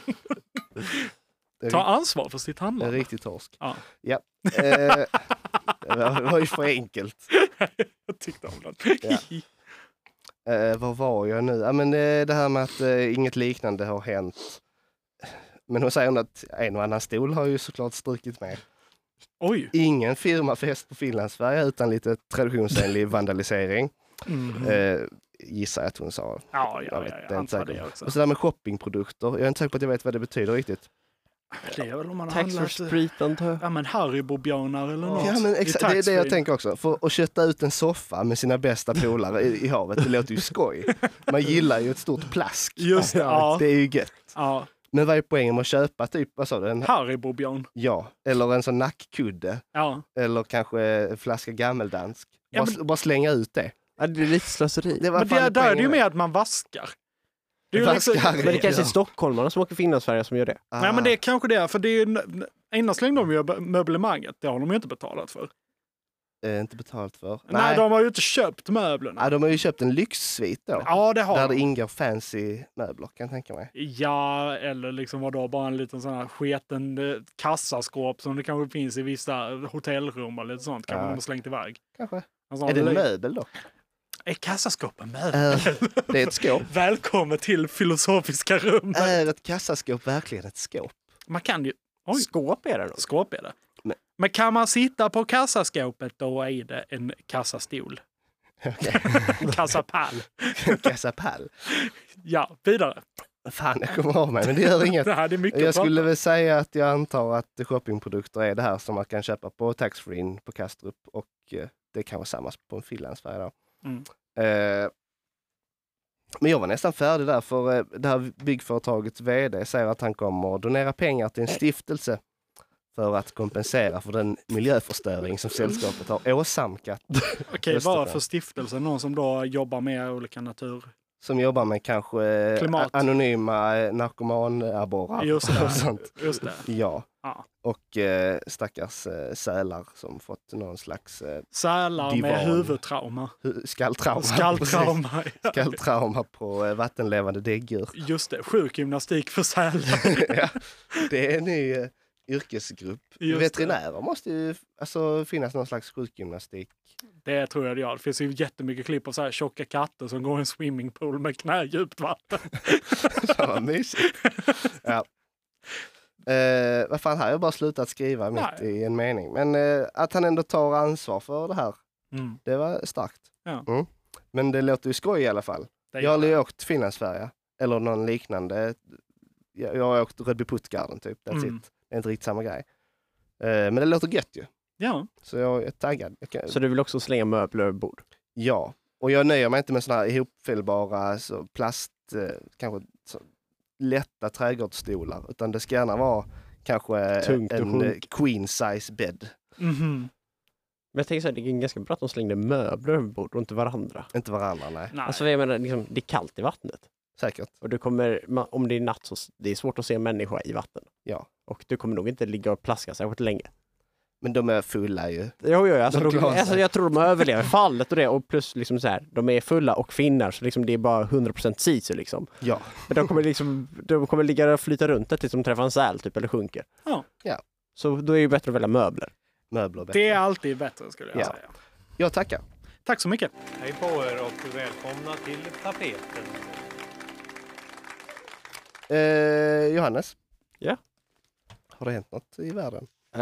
Speaker 3: Mm.
Speaker 2: Ta ansvar för sitt handlande.
Speaker 3: En riktig torsk.
Speaker 2: Ja.
Speaker 3: Ja. Eh, det var- det var ju för enkelt.
Speaker 2: Jag tyckte om den.
Speaker 3: Ja. Eh, vad var jag nu? Ja, men, eh, det här med att eh, inget liknande har hänt. Men hon säger ändå att en och annan stol har ju såklart strukit med.
Speaker 2: Oj.
Speaker 3: Ingen firmafest på Finlandsfärja utan lite traditionsenlig vandalisering.
Speaker 2: Mhm.
Speaker 3: Eh, gissar jag att hon sa.
Speaker 2: Ja, ja,
Speaker 3: Jag
Speaker 2: ja,
Speaker 3: det
Speaker 2: jag
Speaker 3: är inte
Speaker 2: antar det
Speaker 3: säkert.
Speaker 2: också.
Speaker 3: Och så det här med shoppingprodukter. Jag är inte säker på att jag vet vad det betyder riktigt.
Speaker 2: Det är väl om man har
Speaker 10: Tax
Speaker 2: handlat...
Speaker 10: for sprit antar jag.
Speaker 2: Ja men Haribo-björnar eller något.
Speaker 3: Ja, men
Speaker 2: i
Speaker 3: exakt, det är det jag
Speaker 2: taxfree.
Speaker 3: tänker också. För att kötta ut en soffa med sina bästa polare i, i havet, det låter ju skoj. Man gillar ju ett stort plask.
Speaker 2: Just det, ja.
Speaker 3: Det är ju gött.
Speaker 2: Ja.
Speaker 3: Men vad är poängen med att köpa typ, vad sa du? En,
Speaker 2: Haribo-björn.
Speaker 3: ja, eller en sån nackkudde.
Speaker 2: Ja.
Speaker 3: Eller kanske en flaska gammeldansk.
Speaker 2: Ja,
Speaker 3: bara,
Speaker 2: men-
Speaker 3: bara slänga ut det.
Speaker 10: Ja, det är lite slöseri.
Speaker 3: Det var
Speaker 2: Men
Speaker 3: fan
Speaker 2: det, där är det ju
Speaker 3: poängen
Speaker 2: mer att man vaskar. Det är ju liksom-
Speaker 10: Men det kanske är stockholmarna som åker Finlandsfärja som gör det.
Speaker 2: Nej men det är kanske det, för det är ju... Innan slängde de ju möblemanget, det har de ju inte betalat för.
Speaker 3: Eh, inte betalt för.
Speaker 2: Nej, de har ju inte köpt möblerna.
Speaker 3: Ja, de har ju köpt en lyxsvit då.
Speaker 2: Ja, det har
Speaker 3: Alltså, där
Speaker 2: de.
Speaker 3: det ingår fancy möbler kan jag tänka mig.
Speaker 2: Ja, eller liksom vadå, bara en liten sån här sketen eh, kassaskåp som det kanske finns i vissa hotellrum och lite sånt. Kanske
Speaker 3: Ja.
Speaker 2: de har slängt iväg.
Speaker 3: Kanske.
Speaker 2: En sån
Speaker 3: är det en
Speaker 2: lö-
Speaker 3: möbel då?
Speaker 2: Är kassaskåp en möbel?
Speaker 3: Är, det är ett skåp.
Speaker 2: Välkommen till filosofiska rummet.
Speaker 3: är ett kassaskåp verkligen ett skåp?
Speaker 2: Man kan ju... Oj.
Speaker 10: Skåp är det då?
Speaker 2: Skåp är det.
Speaker 3: Men-
Speaker 2: Men kan man sitta på kassaskåpet då är det en kassastol. Kassapall.
Speaker 3: Kassapall.
Speaker 2: Ja, vidare.
Speaker 3: Fan, jag kommer av mig, men det gör inget.
Speaker 2: Det här är mycket
Speaker 3: jag
Speaker 2: att prata
Speaker 3: skulle väl säga att jag antar att shoppingprodukter är det här som man kan köpa på taxfree på Kastrup och eh, det kan vara samma på en finlandsfärja. då.
Speaker 2: Mm.
Speaker 3: Eh, Men jag var nästan färdig där för eh, det här byggföretagets vd säger att han kommer att donera pengar till en stiftelse för att kompensera för den miljöförstöring som sällskapet har åsamkat.
Speaker 2: Okej,
Speaker 3: Östersjön.
Speaker 2: vad för stiftelse? Någon som då jobbar med olika natur...
Speaker 3: Som jobbar med kanske eh,
Speaker 2: Klimat.
Speaker 3: anonyma eh, narkomanabborrar
Speaker 2: Just
Speaker 3: och sånt.
Speaker 2: det. Just det.
Speaker 3: Ja, Och eh, stackars eh, sälar som fått någon slags eh,
Speaker 2: Sälar med
Speaker 3: divan.
Speaker 2: huvudtrauma.
Speaker 3: Hu- Skalltrauma.
Speaker 2: Skalltrauma,
Speaker 3: precis.
Speaker 2: ja.
Speaker 3: Skalltrauma på eh, vattenlevande däggdjur.
Speaker 2: Just det, sjukgymnastik för sälar.
Speaker 3: Det är en ny eh, yrkesgrupp.
Speaker 2: Just det.
Speaker 3: Veterinärer måste ju alltså, finnas någon slags sjukgymnastik.
Speaker 2: Det tror jag det gör. Det finns ju jättemycket klipp av så här tjocka katter som går i en swimmingpool med knädjupt vatten.
Speaker 3: Fan vad mysigt. Ja. Eh, vad fan, här har jag bara slutat skriva mitt i en mening. Men eh, att han ändå tar ansvar för det här,
Speaker 2: Mm.
Speaker 3: det var starkt.
Speaker 2: Ja.
Speaker 3: Mm. Men det låter ju skoj i alla fall.
Speaker 2: Det
Speaker 3: jag har
Speaker 2: gör
Speaker 3: aldrig åkt Finlandsfärja eller någon liknande. Jag, jag har åkt Rödby Puttgarden typ. That's
Speaker 2: Mm.
Speaker 3: it. Det är inte riktigt samma grej. Eh, men det låter gött ju.
Speaker 2: Ja.
Speaker 3: Så jag är taggad. Jag kan...
Speaker 10: Så du vill också slänga möbler över bord?
Speaker 3: Ja, och jag nöjer mig inte med sådana här ihopfällbara så plast, eh, kanske så, lätta trädgårdsstolar, utan det ska gärna vara kanske
Speaker 10: Tungt och
Speaker 3: en eh,
Speaker 10: sjukt.
Speaker 3: queen size bed.
Speaker 2: Men
Speaker 10: jag tänker så här, det är ganska bra att de slängde möbler över bord och inte varandra.
Speaker 3: Inte varandra, nej.
Speaker 10: Alltså jag menar, liksom, det är kallt i vattnet.
Speaker 3: Säkert.
Speaker 10: Och du kommer, ma- om det är natt så s- det är svårt att se en människa i vatten.
Speaker 3: Ja.
Speaker 10: Och du kommer nog inte ligga och plaska särskilt länge.
Speaker 3: Men de är fulla ju.
Speaker 10: Jo, jo, alltså,
Speaker 3: De
Speaker 10: de
Speaker 3: klarar sig.
Speaker 10: alltså jag tror de överlever fallet och det. Och plus liksom så här, de är fulla och finnar så liksom det är bara 100% sisu liksom.
Speaker 3: Ja.
Speaker 10: Men de kommer liksom, de kommer ligga och flyta runt där tills de träffar en säl typ eller sjunker.
Speaker 2: Ja.
Speaker 3: Ja.
Speaker 10: Så då är det ju bättre att välja möbler.
Speaker 3: Möbler
Speaker 2: Det är alltid bättre skulle jag
Speaker 10: Ja.
Speaker 2: säga.
Speaker 3: Jag tackar.
Speaker 2: Tack så mycket.
Speaker 9: Hej på er och välkomna till tapeten.
Speaker 3: Eh, Johannes?
Speaker 10: Ja?
Speaker 3: Har det hänt något i världen?
Speaker 10: Eh,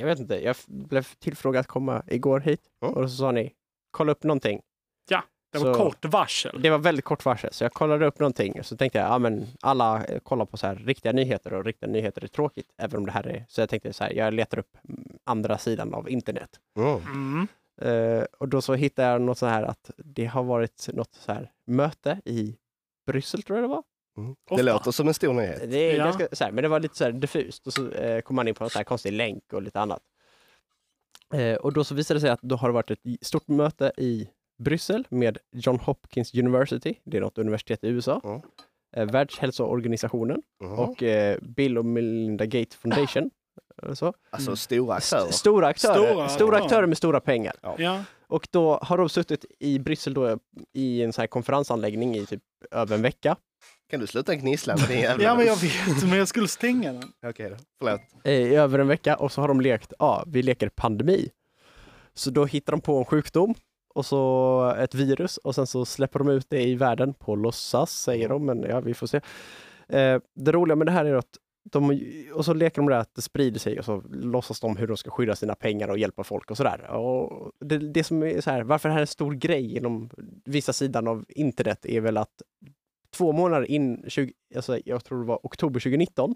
Speaker 10: jag vet inte, jag f- blev tillfrågad att komma igår hit och så sa ni kolla upp någonting.
Speaker 2: Ja, det var
Speaker 10: Så-
Speaker 2: kort varsel.
Speaker 10: Det var väldigt kort varsel, så jag kollade upp någonting och så tänkte jag, ja men alla eh, kollar på så här riktiga nyheter och riktiga nyheter är tråkigt, även om det här är, så jag tänkte så här, jag letar upp mm, andra sidan av internet.
Speaker 2: Mm.
Speaker 10: Eh, och då så hittade jag något så här att det har varit något så här möte i Bryssel tror jag det var.
Speaker 3: Det låter som en stor nyhet.
Speaker 10: Det är
Speaker 3: Ja.
Speaker 10: ganska så här, men det var lite så här diffust och så eh, kom man in på en så här konstig länk och lite annat. Eh, och då så visade det sig att då har det varit ett stort möte i Bryssel med John Hopkins University, det är något universitet i USA, eh, Världshälsoorganisationen och eh, Bill och Melinda Gates Foundation. eller så.
Speaker 2: Mm.
Speaker 3: Alltså stora aktörer.
Speaker 10: S- stora aktörer.
Speaker 3: Stora-
Speaker 10: Stora, aktörer med stora pengar. Och då har de suttit i Bryssel då, i en sån här konferensanläggning i typ över en vecka.
Speaker 3: Kan du sluta gnissla med din jävla...
Speaker 2: Ja, men jag vet, men jag skulle stänga den.
Speaker 3: Okej då, förlåt.
Speaker 10: eh, i över en vecka och så har de lekt, ja, vi leker pandemi. Så då hittar de på en sjukdom och så ett virus och sen så släpper de ut det i världen på låtsas, säger de, men ja, vi får se. Eh, det roliga med det här är att de, och så leker de där att det sprider sig och så låtsas de hur de ska skydda sina pengar och hjälpa folk och sådär. Och det, det som är så här, varför det här är en stor grej inom vissa sidan av internet är väl att två månader in, 20, alltså jag tror det var oktober 2019,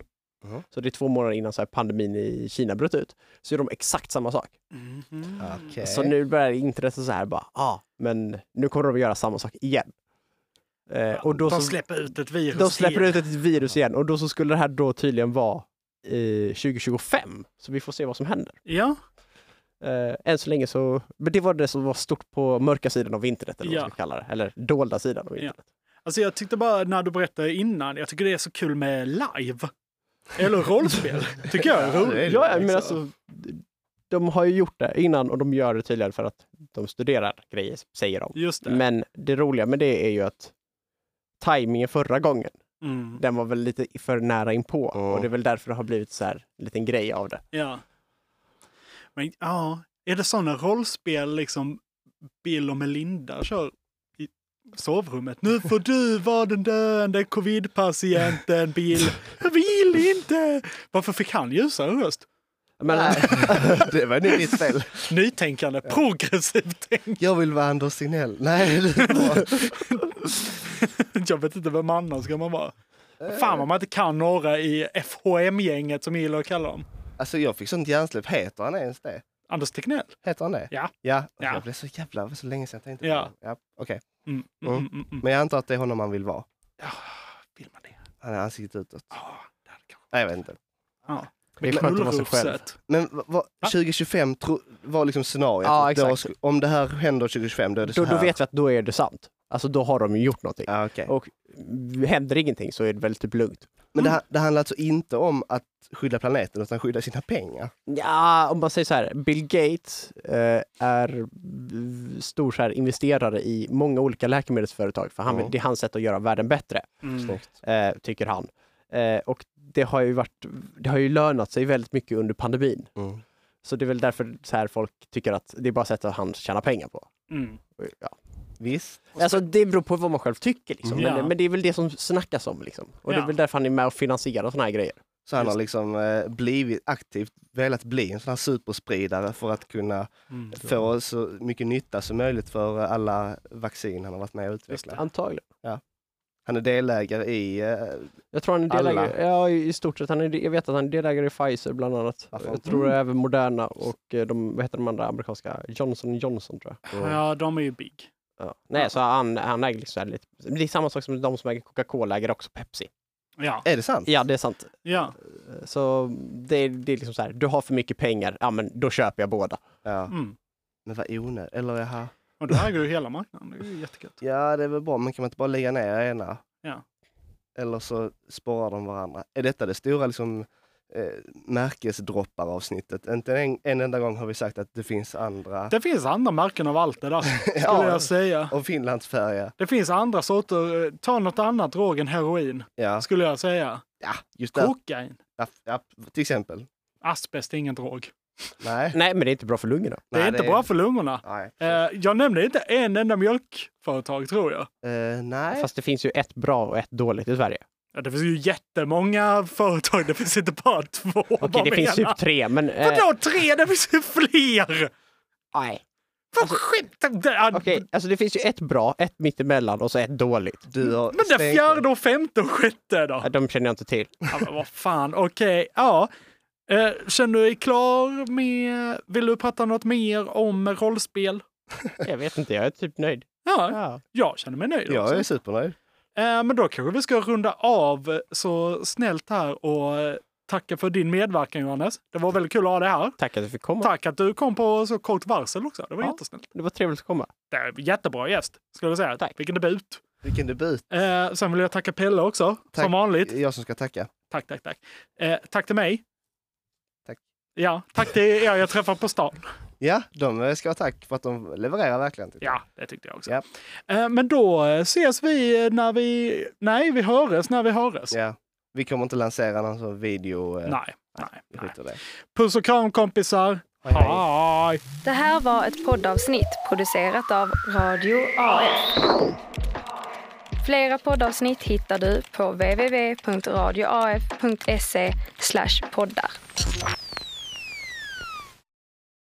Speaker 10: så det är två månader innan så här pandemin i Kina bröt ut, så gör de exakt samma sak. Mm-hmm.
Speaker 3: Okej.
Speaker 2: Eh.
Speaker 10: Så nu börjar internet så här bara, ah, men nu kommer de att göra samma sak igen. Eh, och då
Speaker 2: de
Speaker 10: så-
Speaker 2: släpper ut ett virus
Speaker 10: de släpper
Speaker 2: igen.
Speaker 10: ut ett virus igen och då så skulle det här då tydligen vara eh, 2025. Så vi får se vad som händer.
Speaker 2: Ja.
Speaker 10: Eh, än så länge så, men det var det som var stort på mörka sidan av internet eller vad
Speaker 2: Ja.
Speaker 10: man ska kalla det, eller dolda sidan av internet.
Speaker 2: Alltså jag tyckte bara när du berättade innan, jag tycker det är så kul med live. Eller rollspel, tycker jag är
Speaker 10: Ja,
Speaker 2: roligt.
Speaker 10: ja,
Speaker 3: liksom-
Speaker 10: men alltså, de har ju gjort det innan och de gör det tydligen för att de studerar grejer, säger de.
Speaker 2: Just det.
Speaker 10: Men det roliga med det är ju att tajmingen förra gången,
Speaker 2: Mm.
Speaker 10: den var väl lite för nära inpå och det är väl därför det har blivit så här en liten grej av det.
Speaker 2: Ja. Men ja, är det sådana rollspel liksom Bill och Melinda kör i sovrummet? Nu får du vara den döende covidpatienten Bill. Jag vill inte! Varför fick han ljusare röst?
Speaker 10: Men,
Speaker 3: det var nog ditt fel.
Speaker 2: Nytänkande, progressivt tänk.
Speaker 3: Jag vill vara Anders Signell. Nej, det är
Speaker 2: Jag vet inte vem annars ska man vara. Fan om man inte kan några i FHM-gänget som jag gillar att kalla dem.
Speaker 3: Alltså jag fick sånt hjärnsläpp. Heter han ens det?
Speaker 2: Anders Tegnell.
Speaker 3: Heter han det?
Speaker 2: Ja.
Speaker 3: Ja,
Speaker 2: Ja.
Speaker 3: jag blev så jävla... det var så länge sedan jag tänkte
Speaker 2: Ja.
Speaker 3: på det. Ja, okej.
Speaker 2: Mm,
Speaker 3: Mm.
Speaker 2: mm, mm, mm.
Speaker 3: Men jag antar att det är honom man vill vara. Ja, vill man det? Han är ansiktet utåt. Nej, jag vet inte.
Speaker 2: Ja.
Speaker 3: Men- Men vad- vad- 2025 tro, var liksom scenariot.
Speaker 10: Ja,
Speaker 3: Att då
Speaker 10: exakt.
Speaker 3: sku- om det här händer 2025, då är det så
Speaker 10: Då,
Speaker 3: här.
Speaker 10: då vet vi att då är det sant. Alltså då har de ju gjort någonting.
Speaker 3: Ja, okay.
Speaker 10: Och mm, händer ingenting så är det väl typ lugnt.
Speaker 3: Men det, ha- det handlar alltså inte om att skydda planeten utan skydda sina pengar.
Speaker 10: Ja, om man säger så här, Bill Gates eh, är v- stor så här, investerare i många olika läkemedelsföretag för han, vill-
Speaker 3: Ja.
Speaker 10: det är hans sätt att göra världen bättre,
Speaker 3: Mm. Snyggt.
Speaker 10: eh, tycker han. Eh, och det har, ju varit, det har ju lönat sig väldigt mycket under pandemin. Så det är väl därför så här folk tycker att det är bara sättet han tjänar pengar på.
Speaker 2: Mm.
Speaker 10: Ja.
Speaker 3: Visst.
Speaker 10: Alltså det beror på vad man själv tycker liksom.
Speaker 3: Mm. Ja.
Speaker 10: men, men det är väl det som snackas om liksom. Och det
Speaker 3: Ja.
Speaker 10: är väl därför han är med och finansierar sådana här grejer.
Speaker 3: Så han har
Speaker 10: Just.
Speaker 3: liksom eh, blivit aktivt velat bli en sån här superspridare för att kunna
Speaker 10: Mm.
Speaker 3: få så mycket nytta som möjligt för eh, alla vaccin han har varit med och utvecklat.
Speaker 10: Antagligen.
Speaker 3: Ja. Han är delägare i eh,
Speaker 10: Jag tror han är
Speaker 3: alla.
Speaker 10: delägare, ja i i stort sett. Han är, jag vet att han är delägare i Pfizer bland annat. Jag tror
Speaker 2: Mm.
Speaker 10: även Moderna och eh, de, vad heter de andra amerikanska? Johnson Johnson tror jag.
Speaker 2: Ja, de är ju big.
Speaker 10: Ja. Nej, så han, han äger liksom så här lite, det är samma sak som de som äger Coca-Cola äger också Pepsi.
Speaker 2: Ja.
Speaker 3: Är det sant?
Speaker 10: Ja, det är sant.
Speaker 2: Ja.
Speaker 10: Så det är, det är liksom så här, du har för mycket pengar, ja men då köper jag båda.
Speaker 3: Ja.
Speaker 2: Mm.
Speaker 3: Men vad onödigt. Eller jaha.
Speaker 2: Och då äger du hela marknaden. Det är ju jättegött.
Speaker 3: Ja, det är väl bra, men kan man inte bara lägga ner ena?
Speaker 2: Ja.
Speaker 3: Eller så sparar de varandra. Är detta det stora liksom, eh, märkesdroppar-avsnittet? Inte en, en enda gång har vi sagt att det finns andra.
Speaker 2: Det finns andra märken av allt det där, skulle jag säga.
Speaker 3: Och Finlandsfärja.
Speaker 2: Det finns andra sorter. eh, Ta något annat drog än heroin,
Speaker 3: Ja,
Speaker 2: skulle jag säga.
Speaker 3: Ja, just det.
Speaker 2: Kokain.
Speaker 3: Ja, ja, till exempel.
Speaker 2: Asbest är ingen drog.
Speaker 3: Nej.
Speaker 10: Nej, men det är inte bra för lungorna.
Speaker 2: Det är inte bra för lungorna. Eh, jag nämnde inte en enda mjölkföretag, tror jag.
Speaker 3: Eh, nej.
Speaker 10: Fast det finns ju ett bra och ett dåligt i Sverige.
Speaker 2: Ja, det finns ju jättemånga företag. Det finns inte bara två.
Speaker 10: Okej, det finns typ tre, men... eh,
Speaker 2: Vadå tre? Det finns ju fler!
Speaker 10: Nej. Alltså-
Speaker 2: Vad skämtar
Speaker 10: Okej, alltså det finns ju ett bra, ett mittemellan och så ett dåligt.
Speaker 3: Du har
Speaker 2: Men det fjärde och femte och sjätte då?
Speaker 10: De känner jag inte till.
Speaker 2: Ja, men vad fan, okej. Ja. Eh, Känner du dig klar med... Vill du prata något mer om rollspel?
Speaker 10: Jag vet inte, jag är typ nöjd.
Speaker 2: Ja, jag känner mig nöjd
Speaker 3: Jag
Speaker 2: också.
Speaker 3: är supernöjd.
Speaker 2: Eh, Men då kanske vi ska runda av så snällt här och eh, tacka för din medverkan Johannes. Det var väldigt kul att ha dig här.
Speaker 10: Tack att du fick komma.
Speaker 2: Tack att du kom på så kort varsel också. Det var jättesnällt.
Speaker 10: Det var trevligt att komma.
Speaker 2: Det är en jättebra gäst, skulle jag säga. Tack. Vilken debut!
Speaker 3: Vilken debut.
Speaker 2: Eh, sen vill jag tacka Pelle också,
Speaker 3: Tack.
Speaker 2: som vanligt.
Speaker 3: Jag som ska tacka.
Speaker 2: Tack, tack, tack. Eh, tack till mig.
Speaker 3: Tack.
Speaker 2: Ja, tack till er jag träffar på stan.
Speaker 3: Ja, de eh, ska ha tack för att de levererar verkligen. tycker jag.
Speaker 2: Ja, det tyckte jag också. Eh, men då eh, ses vi eh, när vi... Nej, vi höres när vi höres.
Speaker 3: Ja. Vi kommer inte lansera någon sån video. eh,
Speaker 2: Nej, nej,
Speaker 3: vi skiter i det.
Speaker 2: Puss och kram kompisar.
Speaker 3: Hej, hej.
Speaker 2: Hej.
Speaker 1: Det här var ett poddavsnitt producerat av Radio AF. Flera poddavsnitt hittar du på www.radioaf.se E poddar.